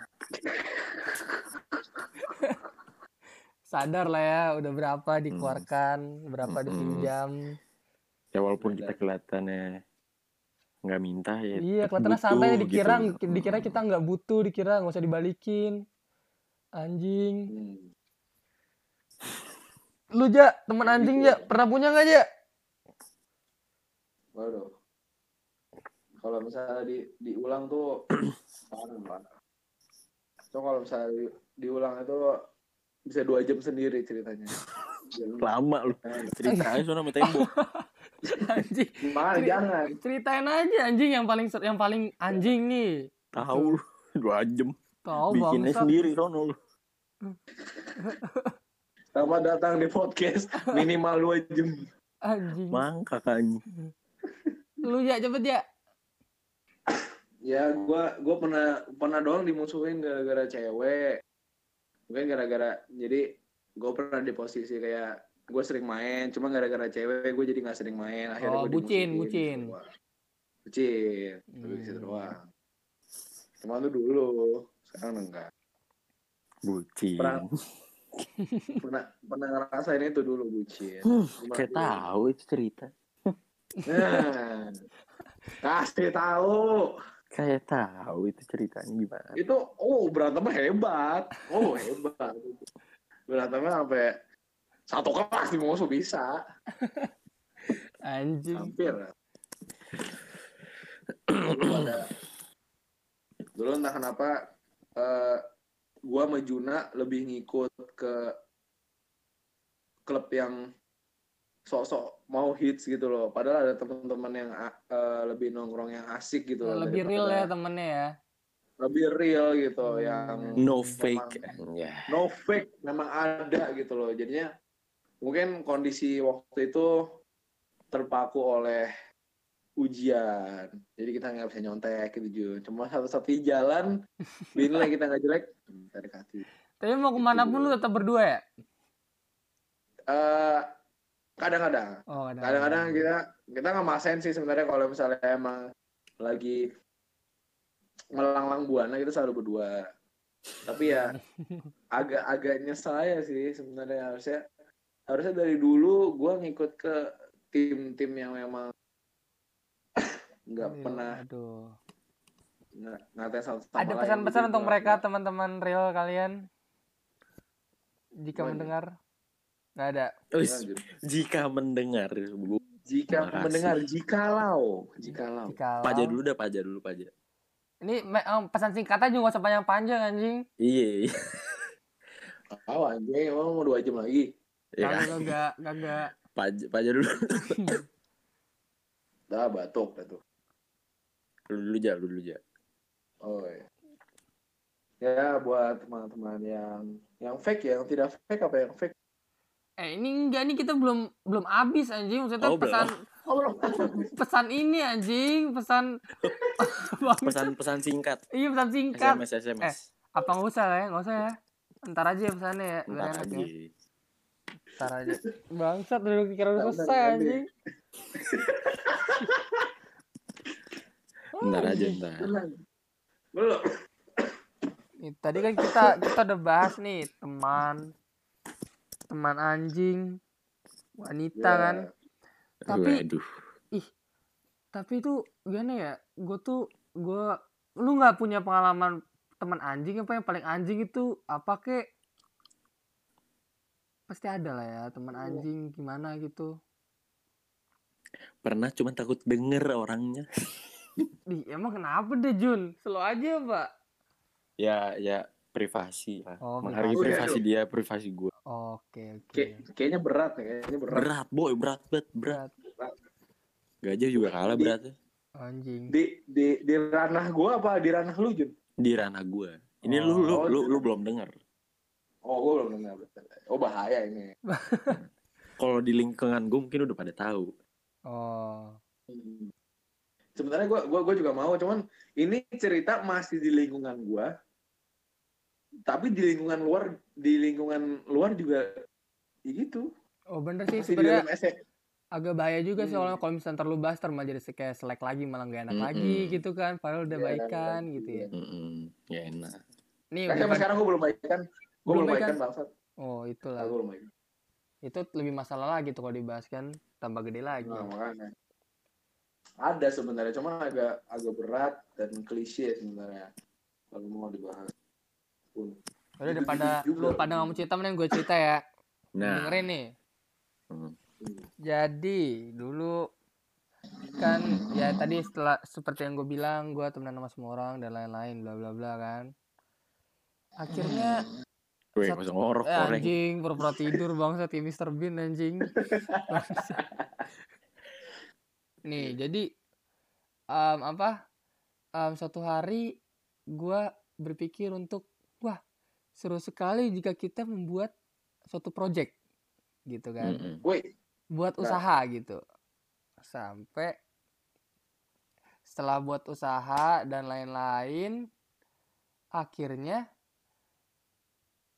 S1: Sadar lah ya udah berapa dikeluarkan, berapa
S2: Mm-mm.
S1: dipinjam.
S2: ya walaupun kita kelihatannya nggak minta ya
S1: Iya,
S2: tetep
S1: kelihatannya
S2: butuh,
S1: santai dikira
S2: gitu.
S1: dikira kita nggak butuh, dikira nggak usah dibalikin. Anjing.
S3: Hmm.
S1: Lu Ja, temen anjing Ja, pernah punya nggak Ja?
S3: Waduh. Kalau misalnya di diulang tuh parah parah. So kalau misalnya di- diulang itu bisa dua jam sendiri ceritanya. Jangan,
S2: lama lu cerita aja soalnya sama tembok
S1: Anjing.
S3: Jangan, jangan.
S1: Ceritain aja anjing yang paling ser- yang paling anjing nih.
S2: tahu lu dua jam
S1: Tahu
S2: bikinnya
S1: Oh, bangsat.
S2: sendiri sono lu
S3: Selamat datang di podcast minimal dua jam.
S1: Anjing.
S2: mangka kan
S1: Lu ya cepet ya.
S3: Ya, gua gua pernah pernah doang dimusuhin gara-gara cewek. Mungkin gara-gara jadi gua pernah di posisi kayak gue sering main, cuma gara-gara cewek gue jadi nggak sering main.
S1: Oh,
S3: Akhirnya gua
S1: bucin,
S3: dimusuhin,
S1: bucin.
S3: gitu doang. Bucin, tapi di situ
S1: Hmm.
S3: doang. Cuma itu dulu, sekarang enggak.
S2: bucin
S3: Pra- Pernah pernah ngerasain itu dulu bucin.
S2: Hmm,
S3: Cuma
S2: kayak
S3: dulu.
S2: tahu itu cerita
S3: Nah, kasih tahu.
S2: kayak tahu itu ceritanya gimana
S3: itu oh berantemnya hebat oh hebat berantemnya sampai satu kelas di musuh bisa
S1: Anjing.
S3: hampir dulu, ada- dulu entah kenapa eh, gua sama Juna lebih ngikut ke klub yang sok-sok mau hits gitu loh padahal ada teman-teman yang a- eh, lebih nongkrong yang asik gitu loh
S1: Lebih real ya
S3: daripada-
S1: temennya ya.
S3: lebih real gitu
S1: Hmm.
S3: yang
S2: no
S3: memang-
S2: fake ya
S3: no fake memang ada gitu loh jadinya mungkin kondisi waktu itu terpaku oleh ujian. Jadi kita nggak bisa nyontek gitu Jun. Cuma satu-satunya jalan, binlah kita nggak jelek, kita dekati.
S1: Tapi mau kemana pun lu tetap berdua ya?
S3: Eh, kadang-kadang,
S1: Oh, ada.
S3: kadang-kadang gitu, kita kita nggak masen sih sebenarnya kalau misalnya emang lagi melanglang buana kita selalu berdua. Tapi ya agak-agak nyesel ya sih sebenarnya harusnya harusnya dari dulu gua ngikut ke tim-tim yang memang nggak
S2: Iya.
S1: Aduh,
S3: pernah
S1: Iya, Aduh.
S3: ng- ngatain satu sama
S1: Ada
S3: lain
S1: pesan-pesan
S3: gitu.
S1: untuk mereka teman-teman real kalian? Jika
S3: Gimana?
S1: mendengar? Nggak ada.
S2: Wis, jika mendengar, gua
S3: Iya, gitu. Jika
S2: Terima kasih.
S3: mendengar jikalau, jikalau.
S1: Jikalau-
S2: paja dulu dah, paja dulu paja.
S1: Ini me- em, pesan singkat aja nggak usah panjang-panjang anjing.
S2: Iya, iya.
S3: Oh, anjing, emang mau dua jam lagi.
S2: Ya, kan?
S1: Kalau enggak kagak
S2: paja, paja dulu.
S3: Dah batuk dah tuh.
S2: Lu dulu aja, lu dulu aja.
S3: Oh. iya. Ya buat teman-teman yang yang fake ya, yang tidak fake apa yang fake?
S1: Eh ini enggak nih kita belum belum habis anjing maksudnya
S2: Oh, belum.
S1: pesan
S3: Oh, belum.
S1: pesan ini anjing pesan
S2: Pesan-pesan singkat,
S1: iya pesan singkat
S2: SMS, SMS.
S1: apa nggak usah lah ya nggak usah ya ntar aja ya pesannya ya Biar
S2: Ntar
S1: enak
S2: aja.
S1: ya. ntar aja bangsat dulu kira
S3: Ntar,
S1: udah
S3: ntar,
S1: selesai
S3: ntar.
S1: anjing
S2: Ntar aja, ntar.
S3: Belum.
S1: Nih, tadi kan kita kita udah bahas nih teman teman anjing wanita
S3: Ya,
S1: kan Tapi-
S2: Waduh.
S1: tapi itu gimana ya gue tuh gue lu nggak punya pengalaman teman anjing apa yang paling anjing itu apa kek pasti ada lah ya teman
S3: Iya.
S1: anjing gimana gitu
S2: Pernah cuman takut denger orangnya.
S1: Dih, emang kenapa deh Jun slow aja pak
S2: Ya, ya privasi lah.
S1: Oh,
S2: Menghargai
S3: privasi.
S2: privasi dia, privasi gua.
S1: oke oke
S3: Kayak- kayaknya berat nih, kayaknya Iya. berat.
S2: Berat, boy, berat, berat, berat. Gajah juga kalah
S3: Di-
S2: beratnya.
S1: anjing
S3: Di di di ranah gua apa di ranah lu Jun?
S2: Di ranah gua. Ini lu, lu,
S3: Oh.
S2: lu, lu belum denger.
S3: Oh, gua belum dengar. Oh, bahaya ini.
S2: Kalau di lingkungan gua mungkin udah pada tahu.
S1: oh
S3: Hmm. Sebenarnya gue gua, gua juga mau, cuman ini cerita masih di lingkungan gua. Tapi di lingkungan luar, di lingkungan luar juga ya gitu.
S1: oh bener sih
S3: Masih di
S1: sebenarnya
S3: dalam E. SM.
S1: agak bahaya juga sih
S3: Hmm.
S1: soalnya kalau misalnya terlalu bahas terlalu jadi se- kayak selek lagi malah nggak enak
S2: Mm-mm.
S1: lagi gitu kan padahal udah
S3: Iya,
S1: baikan
S3: iya.
S1: gitu ya
S2: Mm-mm. Ya enak.
S1: nih
S3: Kan sampai
S1: bukan-
S3: sekarang gue belum baikan. Gue
S1: Iya, Belum
S3: belum baikan,
S1: baikan.
S3: bangsat.
S1: oh
S3: Nah,
S1: itulah
S3: gue belum baikan.
S1: itu lebih masalah lagi tuh kalau dibahas kan tambah gede lagi
S3: Nah, makanya. Ada sebenarnya, cuman agak agak berat dan klise sebenarnya. Kalau mau dibahas.
S1: udah daripada
S3: gitu
S1: lu
S3: juga.
S1: pada nggak mau cerita mending gue cerita ya
S2: Nah,
S1: dengerin nih
S2: Hmm.
S1: jadi dulu kan ya tadi setelah seperti yang gue bilang gue temenan sama semua orang dan lain-lain bla bla bla kan akhirnya
S2: gue
S1: Sat-
S2: nggak usah ngorok
S1: eh,
S2: orang.
S1: anjing pura-pura tidur bangsa tim Mr. Bean anjing Bangsat. nih jadi em, apa em, suatu hari gua berpikir untuk wah seru sekali jika kita membuat suatu project gitu kan
S2: Mm-mm.
S3: Woi,
S1: buat
S3: Nah.
S1: usaha gitu sampai setelah buat usaha dan lain-lain akhirnya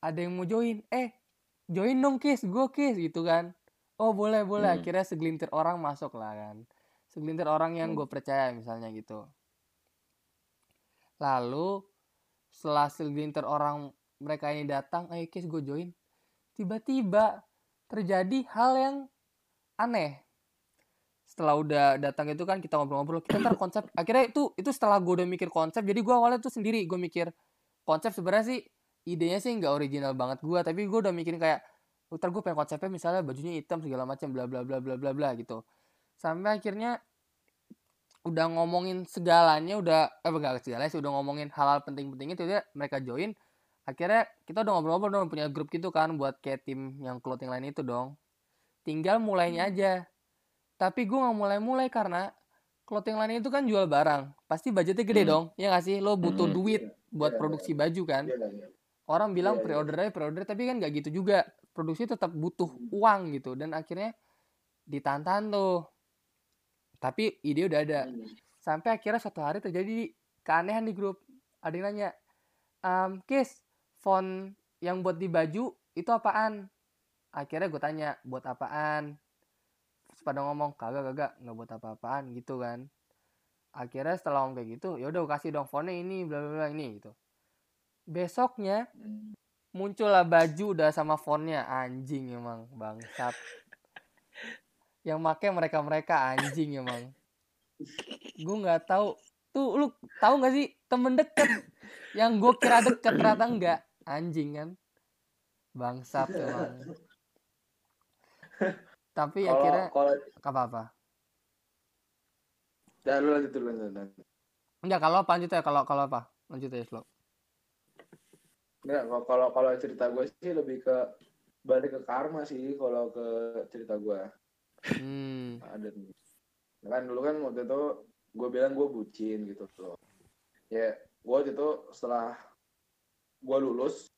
S1: ada yang mau join eh join dong kis gue kis gitu kan oh boleh boleh
S2: Hmm.
S1: akhirnya segelintir orang masuk lah kan segelintir orang yang
S3: Hmm.
S1: gue percaya misalnya gitu lalu setelah segelintir orang mereka ini datang ayo kis gue join tiba-tiba terjadi hal yang aneh setelah udah datang itu kan kita ngobrol-ngobrol kita ntar konsep akhirnya itu itu setelah gue udah mikir konsep jadi gue awalnya tuh sendiri gue mikir konsep sebenarnya sih idenya sih nggak original banget gue tapi gue udah mikirin kayak "Oh, ntar gue pengen konsepnya misalnya bajunya hitam segala macam bla bla bla bla bla bla gitu sampai akhirnya udah ngomongin segalanya udah eh enggak segalanya sih udah ngomongin hal-hal penting-penting itu dia mereka join akhirnya kita udah ngobrol-ngobrol dong punya grup gitu kan buat kayak tim yang clothing lain itu dong tinggal
S3: Hmm.
S1: mulainya aja tapi gue nggak mulai-mulai karena clothing line itu kan jual barang pasti budgetnya gede
S2: Hmm.
S1: dong ya nggak sih lo butuh
S2: Hmm.
S1: duit buat
S3: Iya,
S1: produksi baju kan
S3: iya, iya.
S1: orang bilang
S3: Iya, iya.
S1: pre-order aja pre-order tapi kan nggak gitu juga produksi tetap butuh uang gitu dan akhirnya ditantang tuh Tapi ide udah ada.
S3: Hmm.
S1: Sampai akhirnya suatu hari terjadi keanehan di grup. Ada yang nanya, "Em, Kis, font yang buat di baju itu apaan? Akhirnya gue tanya, buat apaan? Terus pada ngomong, kagak kagak, nggak buat apa-apaan gitu kan. Akhirnya setelah ngomong kayak gitu, yaudah gue kasih dong fontnya ini, bla bla bla ini gitu. Besoknya muncullah baju udah sama fontnya anjing emang bangsat. Yang make mereka-mereka anjing emang. Gue nggak tahu. Tuh lu tahu nggak sih temen deket yang gue kira deket ternyata enggak anjing kan bangsat emang tapi
S3: Kalau
S1: akhirnya
S3: kalau
S1: apa apa
S3: dah ya, lu lanjut dulu lanjut, lanjut.
S1: enggak kalau apa lanjut ya kalau kalau apa lanjut ya slow
S3: Nggak, kalau- kalau kalau cerita gue sih lebih ke balik ke karma sih kalau ke cerita gue
S1: hmm
S3: ada nih. kan dulu kan waktu itu gue bilang gue bucin gitu loh ya gue waktu itu setelah gue lulus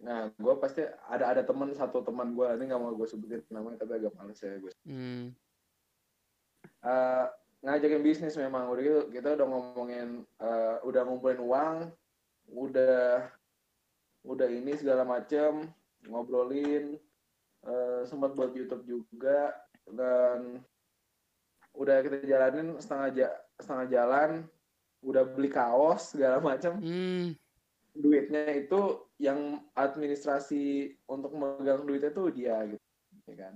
S3: nah gue pasti ada ada teman satu teman gue nanti nggak mau gue sebutin namanya tapi agak males ya gue
S1: hmm
S3: Eh, ngajakin bisnis memang udah gitu kita udah ngomongin eh, udah ngumpulin uang udah udah ini segala macem ngobrolin eh, sempat buat YouTube juga dan udah kita jalanin setengah ja- setengah jalan udah beli kaos segala macem
S1: hmm
S3: duitnya itu yang administrasi untuk megang duitnya tuh dia gitu ya kan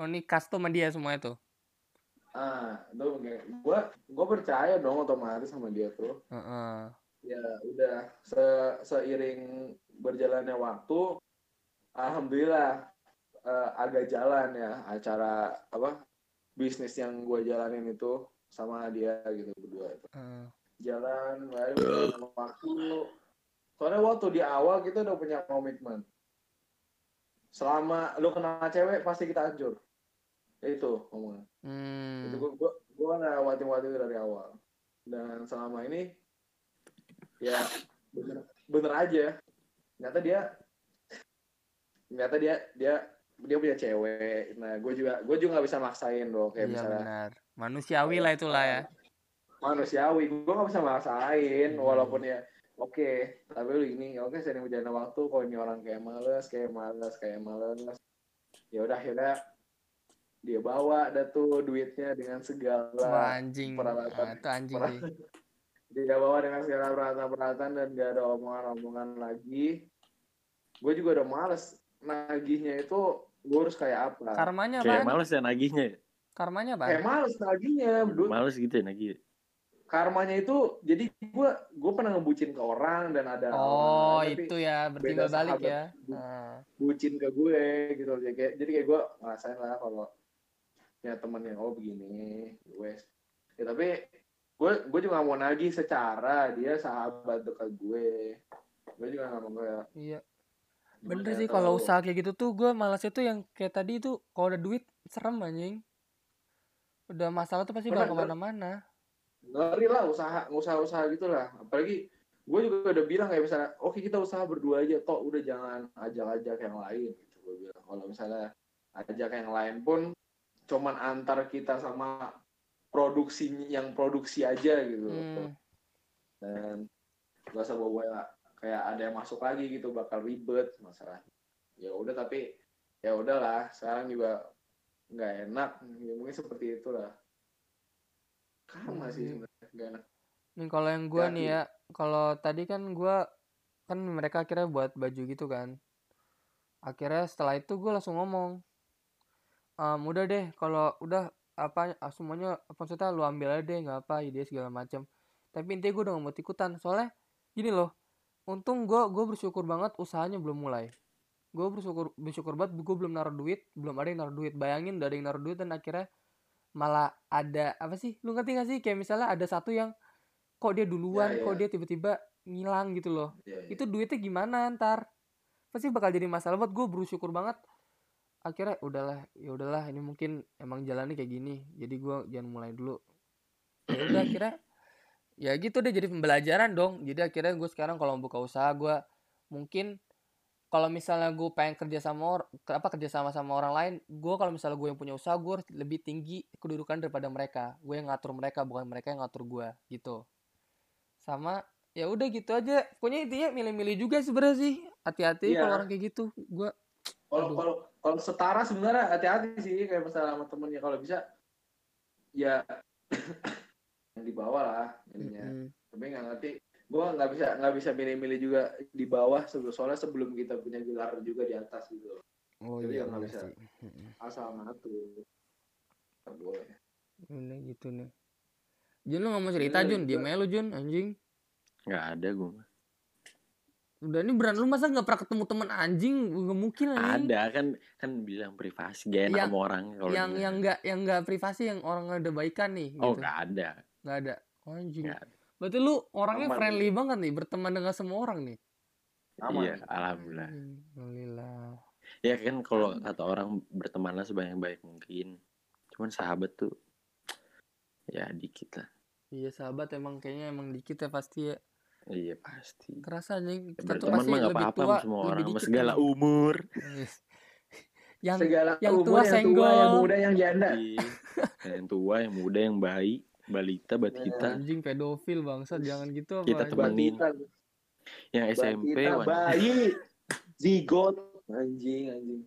S1: oh ini custom sama dia semua itu
S3: ah itu gue gue percaya dong otomatis sama dia tuh
S1: Heeh.
S3: ya udah se- seiring berjalannya waktu alhamdulillah eh, agak jalan ya acara apa bisnis yang gue jalanin itu sama dia gitu berdua itu
S1: Heeh.
S3: jalan baik, berjalan waktu soalnya waktu di awal kita udah punya komitmen selama lu kenal cewek pasti kita hancur itu ngomongnya
S1: hmm
S3: itu gue gue gue lewatin waktu itu dari awal dan selama ini ya bener bener aja ternyata dia ternyata dia dia dia punya cewek nah gue juga gue juga nggak bisa maksain dong kayak
S1: iya
S3: misalnya
S1: benar manusiawi lah itulah ya
S3: manusiawi gue nggak bisa maksain
S1: Hmm.
S3: walaupun ya oke tapi lu ini oke sering berjalan waktu kalau ini orang kayak males kayak males kayak males ya udah akhirnya dia bawa dah tuh duitnya dengan segala
S1: Wah, anjing Ah,
S3: peralatan-
S1: itu anjing sih
S3: tidak bawa dengan segala peralatan-peralatan dan gak ada omongan-omongan lagi. Gue juga udah males nagihnya itu gue harus kayak apa?
S1: karmanya apa
S2: Kayak males ya nagihnya. ya?
S1: karmanya apa
S3: kayak males
S1: Kan
S3: nagihnya. Du-
S2: Males gitu ya nagih.
S3: Karmanya itu jadi gue gue pernah ngebucin ke orang dan ada
S1: oh
S3: orang lain, tapi
S1: itu ya bertimbal balik
S3: sahabat.
S1: ya Heeh.
S3: bucin ke gue gitu loh. Jadi kayak, jadi kayak gue ngerasain lah kalau punya temen yang oh begini gue ya tapi gue gue juga nggak mau nagih secara dia sahabat dekat gue gue juga nggak mau kayak
S1: iya
S3: gimana
S1: Bener
S3: ya,
S1: sih kalau
S3: terlalu-
S1: usaha kayak gitu tuh gue malasnya tuh yang kayak tadi tuh kalau ada duit serem anjing. Udah masalah tuh pasti bakal
S3: Bener,
S1: kemana-mana.
S3: ngeri lah usaha usaha usaha gitulah apalagi gue juga udah bilang kayak misalnya oke kita usaha berdua aja toh udah jangan ajak-ajak yang lain gitu gue bilang kalau misalnya ajak yang lain pun cuman antar kita sama produksi yang produksi aja gitu
S1: Hmm.
S3: dan gak usah bawa kayak ada yang masuk lagi gitu bakal ribet masalahnya ya udah tapi ya udahlah sekarang juga nggak enak ya mungkin seperti itulah karma sih sebenarnya nggak enak
S1: Nih kalau yang gue
S3: Ya,
S1: nih
S3: iya.
S1: ya, kalau tadi kan gue kan mereka akhirnya buat baju gitu kan. Akhirnya setelah itu gue langsung ngomong, "Em, udah deh kalau udah apa ah, semuanya apa maksudnya lu ambil aja deh nggak apa ide segala macam. Tapi intinya gue udah gak mau ikutan soalnya gini loh, untung gue gue bersyukur banget usahanya belum mulai. gue bersyukur bersyukur banget gue belum naruh duit belum ada yang naruh duit bayangin udah ada yang naruh duit dan akhirnya malah ada apa sih lu ngerti gak sih kayak misalnya ada satu yang kok dia duluan
S3: Ya,
S1: kok
S3: ya.
S1: dia tiba-tiba ngilang gitu loh
S3: Iya, iya.
S1: itu duitnya gimana ntar pasti bakal jadi masalah buat gue bersyukur banget akhirnya udahlah ya udahlah ini mungkin emang jalannya kayak gini jadi gue jangan mulai dulu ya udah akhirnya ya gitu deh jadi pembelajaran dong jadi akhirnya gue sekarang kalau buka usaha gue mungkin kalau misalnya gue pengen kerja sama or- ke- apa kerja sama sama orang lain gue kalau misalnya gue yang punya usaha gue harus lebih tinggi kedudukan daripada mereka gue yang ngatur mereka bukan mereka yang ngatur gue gitu sama ya udah gitu aja pokoknya intinya milih-milih juga sebenarnya sih hati-hati
S3: Iya.
S1: kalau orang kayak gitu gue
S3: Kalau
S1: Aduh.
S3: kalau kalau setara sebenarnya hati-hati sih kayak masalah sama temennya kalau bisa ya yang di bawah lah ininya. Tapi nggak ngerti. Gua nggak bisa nggak bisa milih-milih juga di bawah sebelum soalnya sebelum kita punya gelar juga di atas gitu.
S1: oh
S3: Jadi
S1: iya
S3: ya nggak
S1: bener
S3: bisa.
S1: sih Mm-mm.
S3: Asal ngatur. Nggak boleh.
S1: Bener gitu nih Jun lu gak mau cerita
S3: Bener,
S1: Jun
S3: gua-
S1: Diam aja lu Jun anjing
S2: nggak ada gue mah.
S1: Udah ini beran lu masa gak pernah ketemu temen anjing Gak mungkin anjing
S2: ada kan kan bilang privasi gak enak
S1: Hmm. Yang-
S2: sama orang kalau
S1: Yang
S2: dibilang.
S1: yang gak, yang gak privasi yang orang ada baikan nih
S2: oh
S1: gitu.
S2: nggak Iya. ada
S1: Nggak ada Oh, anjing
S2: nggak ada.
S1: Berarti lu orangnya
S3: Aman.
S1: friendly banget nih Berteman dengan semua orang nih
S3: Aman.
S2: iya alhamdulillah
S1: Anjing, Alhamdulillah
S2: ya kan kalau kata orang bertemanlah sebanyak-banyak mungkin cuman sahabat tuh ya dikit lah
S1: Iya sahabat emang kayaknya emang dikit ya pasti ya
S2: iya pasti
S1: Kerasa anjing Kita tuh
S2: berteman
S1: pasti
S2: Iya, mah nggak
S1: lebih
S2: apa-apa
S1: tua
S2: sama semua
S1: lebih
S2: orang sama
S1: dikit
S2: segala
S1: emang.
S2: umur
S1: Yes. Yang
S3: Segala
S1: yang
S3: umur,
S1: tua
S3: yang tua,
S1: senggol.
S3: yang muda, yang
S1: Nah.
S3: janda.
S2: Iya. yang tua yang muda yang bayi balita buat kita
S1: anjing pedofil bangsat jangan gitu apa
S2: Kita
S1: anjing?
S2: teman. Temenin.
S3: Batitan,
S2: yang SMP
S3: batitan,
S2: wan-
S3: bayi, zigot, anjing, anjing.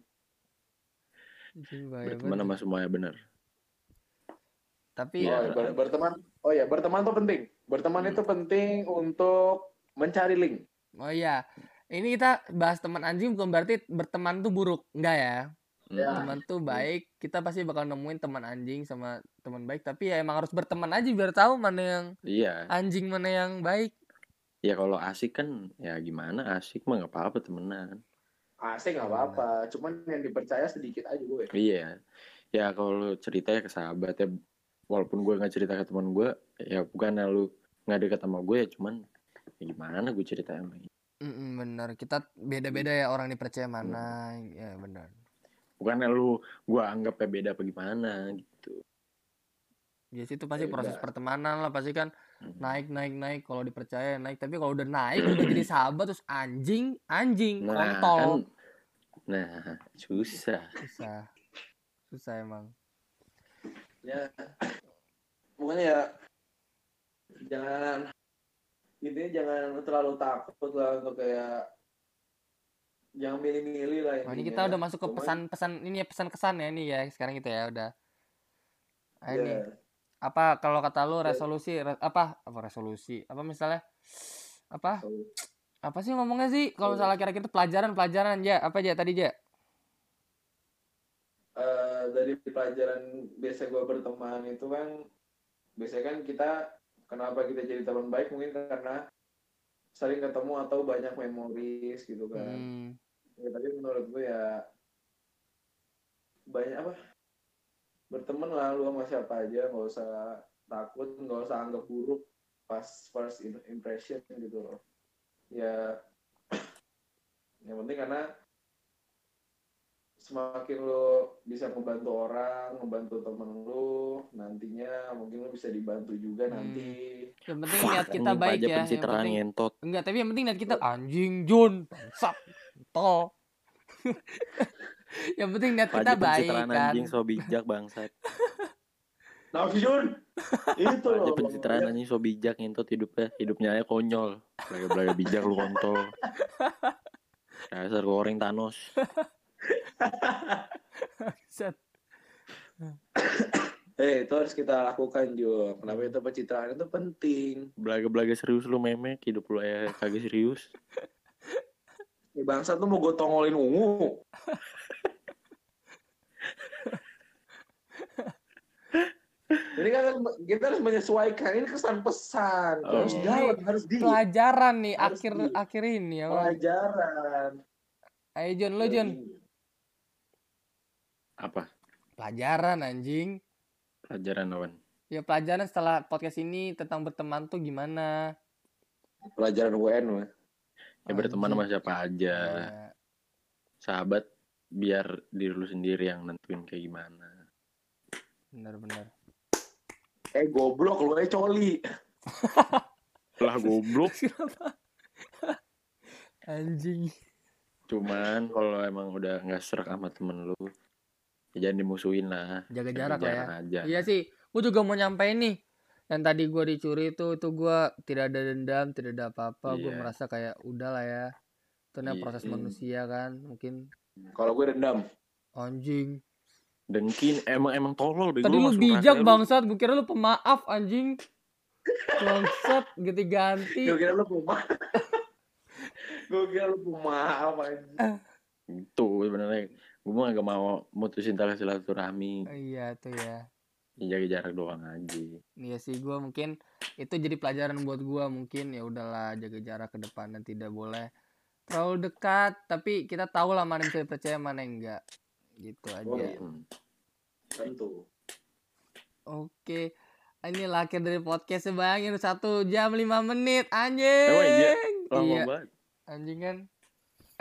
S1: Anjing, bahaya
S2: berteman
S1: banget.
S2: sama semuanya bener
S1: Tapi
S2: Iya.
S3: Oh, ya, ber- berteman. Oh ya, berteman itu penting. Berteman
S2: Hmm.
S3: itu penting untuk mencari link.
S1: oh iya, ini kita bahas teman anjing bukan berarti berteman tuh buruk, enggak ya.
S3: Ya.
S2: Mm.
S1: Teman tuh baik, kita pasti bakal nemuin teman anjing sama teman baik, tapi ya emang harus berteman aja biar tahu mana yang
S2: iya
S1: anjing mana yang baik.
S2: ya kalau asik kan ya gimana asik mah nggak apa-apa temenan
S3: Asik nggak apa-apa. Cuman yang dipercaya sedikit aja gue.
S2: iya ya kalau cerita ya ke sahabat ya walaupun gue nggak cerita ke teman gue ya bukan lu nggak dekat sama gue ya cuman ya gimana gue cerita sama dia.
S1: Mm-mm, bener, kita beda-beda ya orang dipercaya mana, ya bener.
S2: bukan lu gue anggapnya beda apa gimana gitu
S1: Jadi itu pasti
S3: Ya
S1: proses
S3: udah.
S1: pertemanan lah pasti kan
S2: Mm.
S1: naik naik naik kalau dipercaya naik tapi kalau udah naik udah jadi sahabat terus anjing anjing
S2: nah
S1: kontol
S2: kan nah susah
S1: susah susah emang
S3: Ya. Pokoknya ya jangan intinya jangan terlalu takut lah untuk kayak jangan milih-milih lah. ya.
S1: Wah, ini
S3: intinya.
S1: kita udah masuk ke
S3: Cuman,
S1: pesan-pesan ini ya pesan kesan ya ini ya sekarang kita ya udah Ah,
S3: ya,
S1: ini apa kalau kata lu
S3: Ya.
S1: resolusi re- apa apa resolusi apa misalnya apa apa sih ngomongnya sih kalau
S3: Oh.
S1: misalnya kira-kira pelajaran pelajaran ya apa aja tadi aja
S3: eh, dari pelajaran biasa gue berteman itu kan biasanya kan kita kenapa kita jadi teman baik mungkin karena sering ketemu atau banyak memoris gitu kan.
S1: hmm,
S3: Ya, tapi menurut gue ya banyak apa berteman lah lu sama siapa aja nggak usah takut nggak usah anggap buruk pas first in- impression gitu loh ya yang penting karena semakin lo bisa membantu orang membantu temen lu nantinya mungkin lo bisa dibantu juga
S1: Hmm.
S3: nanti
S1: yang penting niat kita
S2: Anjing,
S1: baik
S2: pajak
S1: ya yang
S2: pencitraan
S1: penting
S2: ngentot
S1: enggak tapi yang penting niat kita anjing Jun bangsat tol yang penting niat kita
S2: pajak
S1: baik
S2: pencitraan
S1: kan
S2: anjing so bijak bangsat
S3: Nafsun Nah, itu
S2: pajak
S3: loh
S2: pencitraan anjing so bijak ngentot hidupnya hidupnya aja konyol belaga belaga bijak lu kontol dasar goreng Thanos
S1: Bangsat.
S3: eh itu harus kita lakukan juga kenapa itu pencitraan itu penting
S2: belaga belaga serius lu memek hidup lu aja kagak serius
S3: Ya bangsa tuh mau gue tongolin ungu. Jadi kan harus- kita harus menyesuaikan ini kesan pesan
S2: Oh.
S3: harus jalan harus di
S1: pelajaran nih
S3: Harus
S1: akhir
S3: di-
S1: akhir ini ya Bang.
S3: pelajaran.
S1: ayo Jun lu Jun
S2: apa
S1: pelajaran anjing
S2: pelajaran lawan
S1: ya pelajaran setelah podcast ini tentang berteman tuh gimana
S3: Pelajaran UN mah.
S2: ya berteman sama
S1: Anjing.
S2: siapa aja
S1: Iya.
S2: sahabat biar diri lu sendiri yang nentuin kayak gimana
S1: bener-bener
S3: Eh goblok lu eh coli.
S2: lah goblok
S1: Kenapa? anjing
S2: Cuman kalau emang udah nggak serak sama temen lu, ya jangan dimusuhin lah.
S1: Jaga
S2: Jaga
S1: jarak lah ya.
S2: aja.
S1: Iya sih, gue juga mau nyampein nih. Yang tadi gue dicuri itu, itu gue tidak ada dendam, tidak ada apa-apa. Gue
S2: Iya.
S1: merasa kayak udah lah ya. Itu namanya
S2: Iya.
S1: proses
S3: Hmm.
S1: manusia kan, mungkin
S3: Kalau gue dendam.
S1: anjing.
S2: Dengkin emang emang tolol bego
S1: Tadi lu
S2: masuk
S1: bijak
S2: rahasia lu.
S1: bangsat, gue kira lu pemaaf anjing. Bangsat, ganti-ganti.
S3: Gue kira lu puma. gue kira lu puma apa aja.
S2: Itu sebenarnya gue mah gak mau mutusin tali silaturahmi,
S1: Iya tuh ya.
S2: jaga jarak doang aja.
S1: Iya sih gue mungkin itu jadi pelajaran buat gue mungkin ya udahlah jaga jarak ke depan dan tidak boleh terlalu dekat tapi kita tahu lah mana yang bisa dipercaya mana yang enggak gitu aja.
S3: Oh, iya.
S2: Hmm.
S3: Tentu.
S1: Oke. Ini akhir dari podcastnya bayangin satu jam lima menit
S2: Emang iya?
S1: anjing.
S2: Lama
S1: Iya.
S2: banget.
S1: Anjing kan.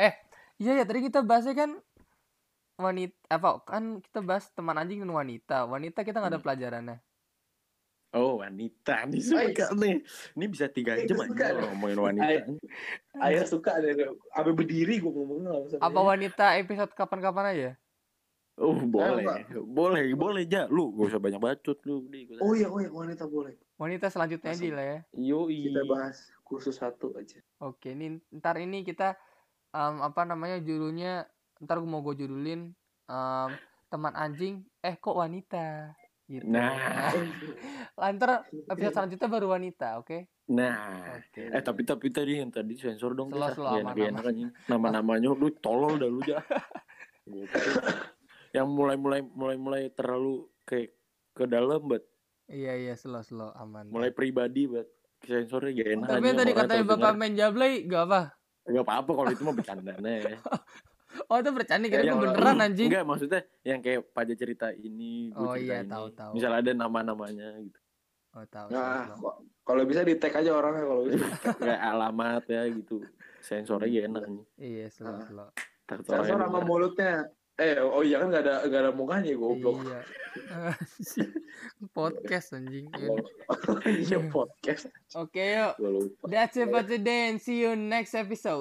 S1: Eh, iya ya tadi kita bahasnya kan wanita apa kan kita bahas teman anjing dan wanita. Wanita kita
S2: Hmm.
S1: nggak ada pelajarannya.
S2: Iya. Oh wanita nih suka nih. Ini bisa tiga
S3: Ini
S2: jam
S3: suka
S2: aja
S3: nih.
S2: orang ngomongin wanita.
S3: Ayah suka ada sampai berdiri gue ngomongnya langsung.
S1: Apa wanita episode kapan-kapan aja?
S2: Oh boleh,
S3: Pak.
S2: boleh, boleh aja. Lu gak usah banyak bacot lu. Di,
S3: Oh iya, oh iya, wanita boleh.
S1: Wanita selanjutnya aja
S3: Langsung.
S1: lah ya.
S2: Yoi.
S3: Kita bahas kursus satu aja.
S1: Oke, ini ntar ini kita em, apa namanya judulnya ntar gua mau gue judulin em, teman anjing eh kok wanita gitu.
S2: Nah.
S3: Eh.
S1: Lantar episode selanjutnya baru wanita, oke?
S2: Nah,
S1: Oke.
S2: eh tapi tapi tadi yang tadi sensor dong.
S1: Slow,
S2: Tis,
S1: slow,
S2: ah. Gak
S1: aman,
S2: enak-enak anjing. Nama-namanya lu tolol dah lu ja. yang mulai-mulai mulai-mulai terlalu kayak ke dalam bet,
S1: Iya iya slow slow aman.
S2: mulai pribadi bet. Sensornya gak enak.
S1: Tapi yang
S2: anjing,
S1: tadi
S2: makanya
S1: katanya
S2: kalau
S1: bakal
S2: denger,
S1: main jablay, gak apa.
S2: Gak apa-apa kalau itu mah bercanda ya.
S1: Oh itu bercanda
S3: Ya,
S1: kira
S3: yang-
S1: beneran anjing.
S2: Iya, Enggak maksudnya yang kayak pada cerita ini. gua
S1: Oh
S2: cerita
S1: iya
S2: ini.
S1: tahu tahu.
S2: Misal ada nama-namanya gitu.
S1: Oh tahu. slow,
S3: Nah,
S1: slow.
S3: kok- kalau bisa di tag aja orangnya kalau bisa.
S2: kayak alamat ya gitu sensornya gak enak nih
S1: Iya slow
S3: Ah.
S1: slow.
S2: Ntar tau
S3: Sensor
S2: yang
S3: sama
S2: bener.
S3: mulutnya. Eh, oh iya kan gak ada gak ada mukanya goblok.
S1: Iya. Podcast anjing. Iya.
S3: Iya podcast.
S1: Oke yuk.
S3: Gue lupa.
S1: That's it for today and see you next episode.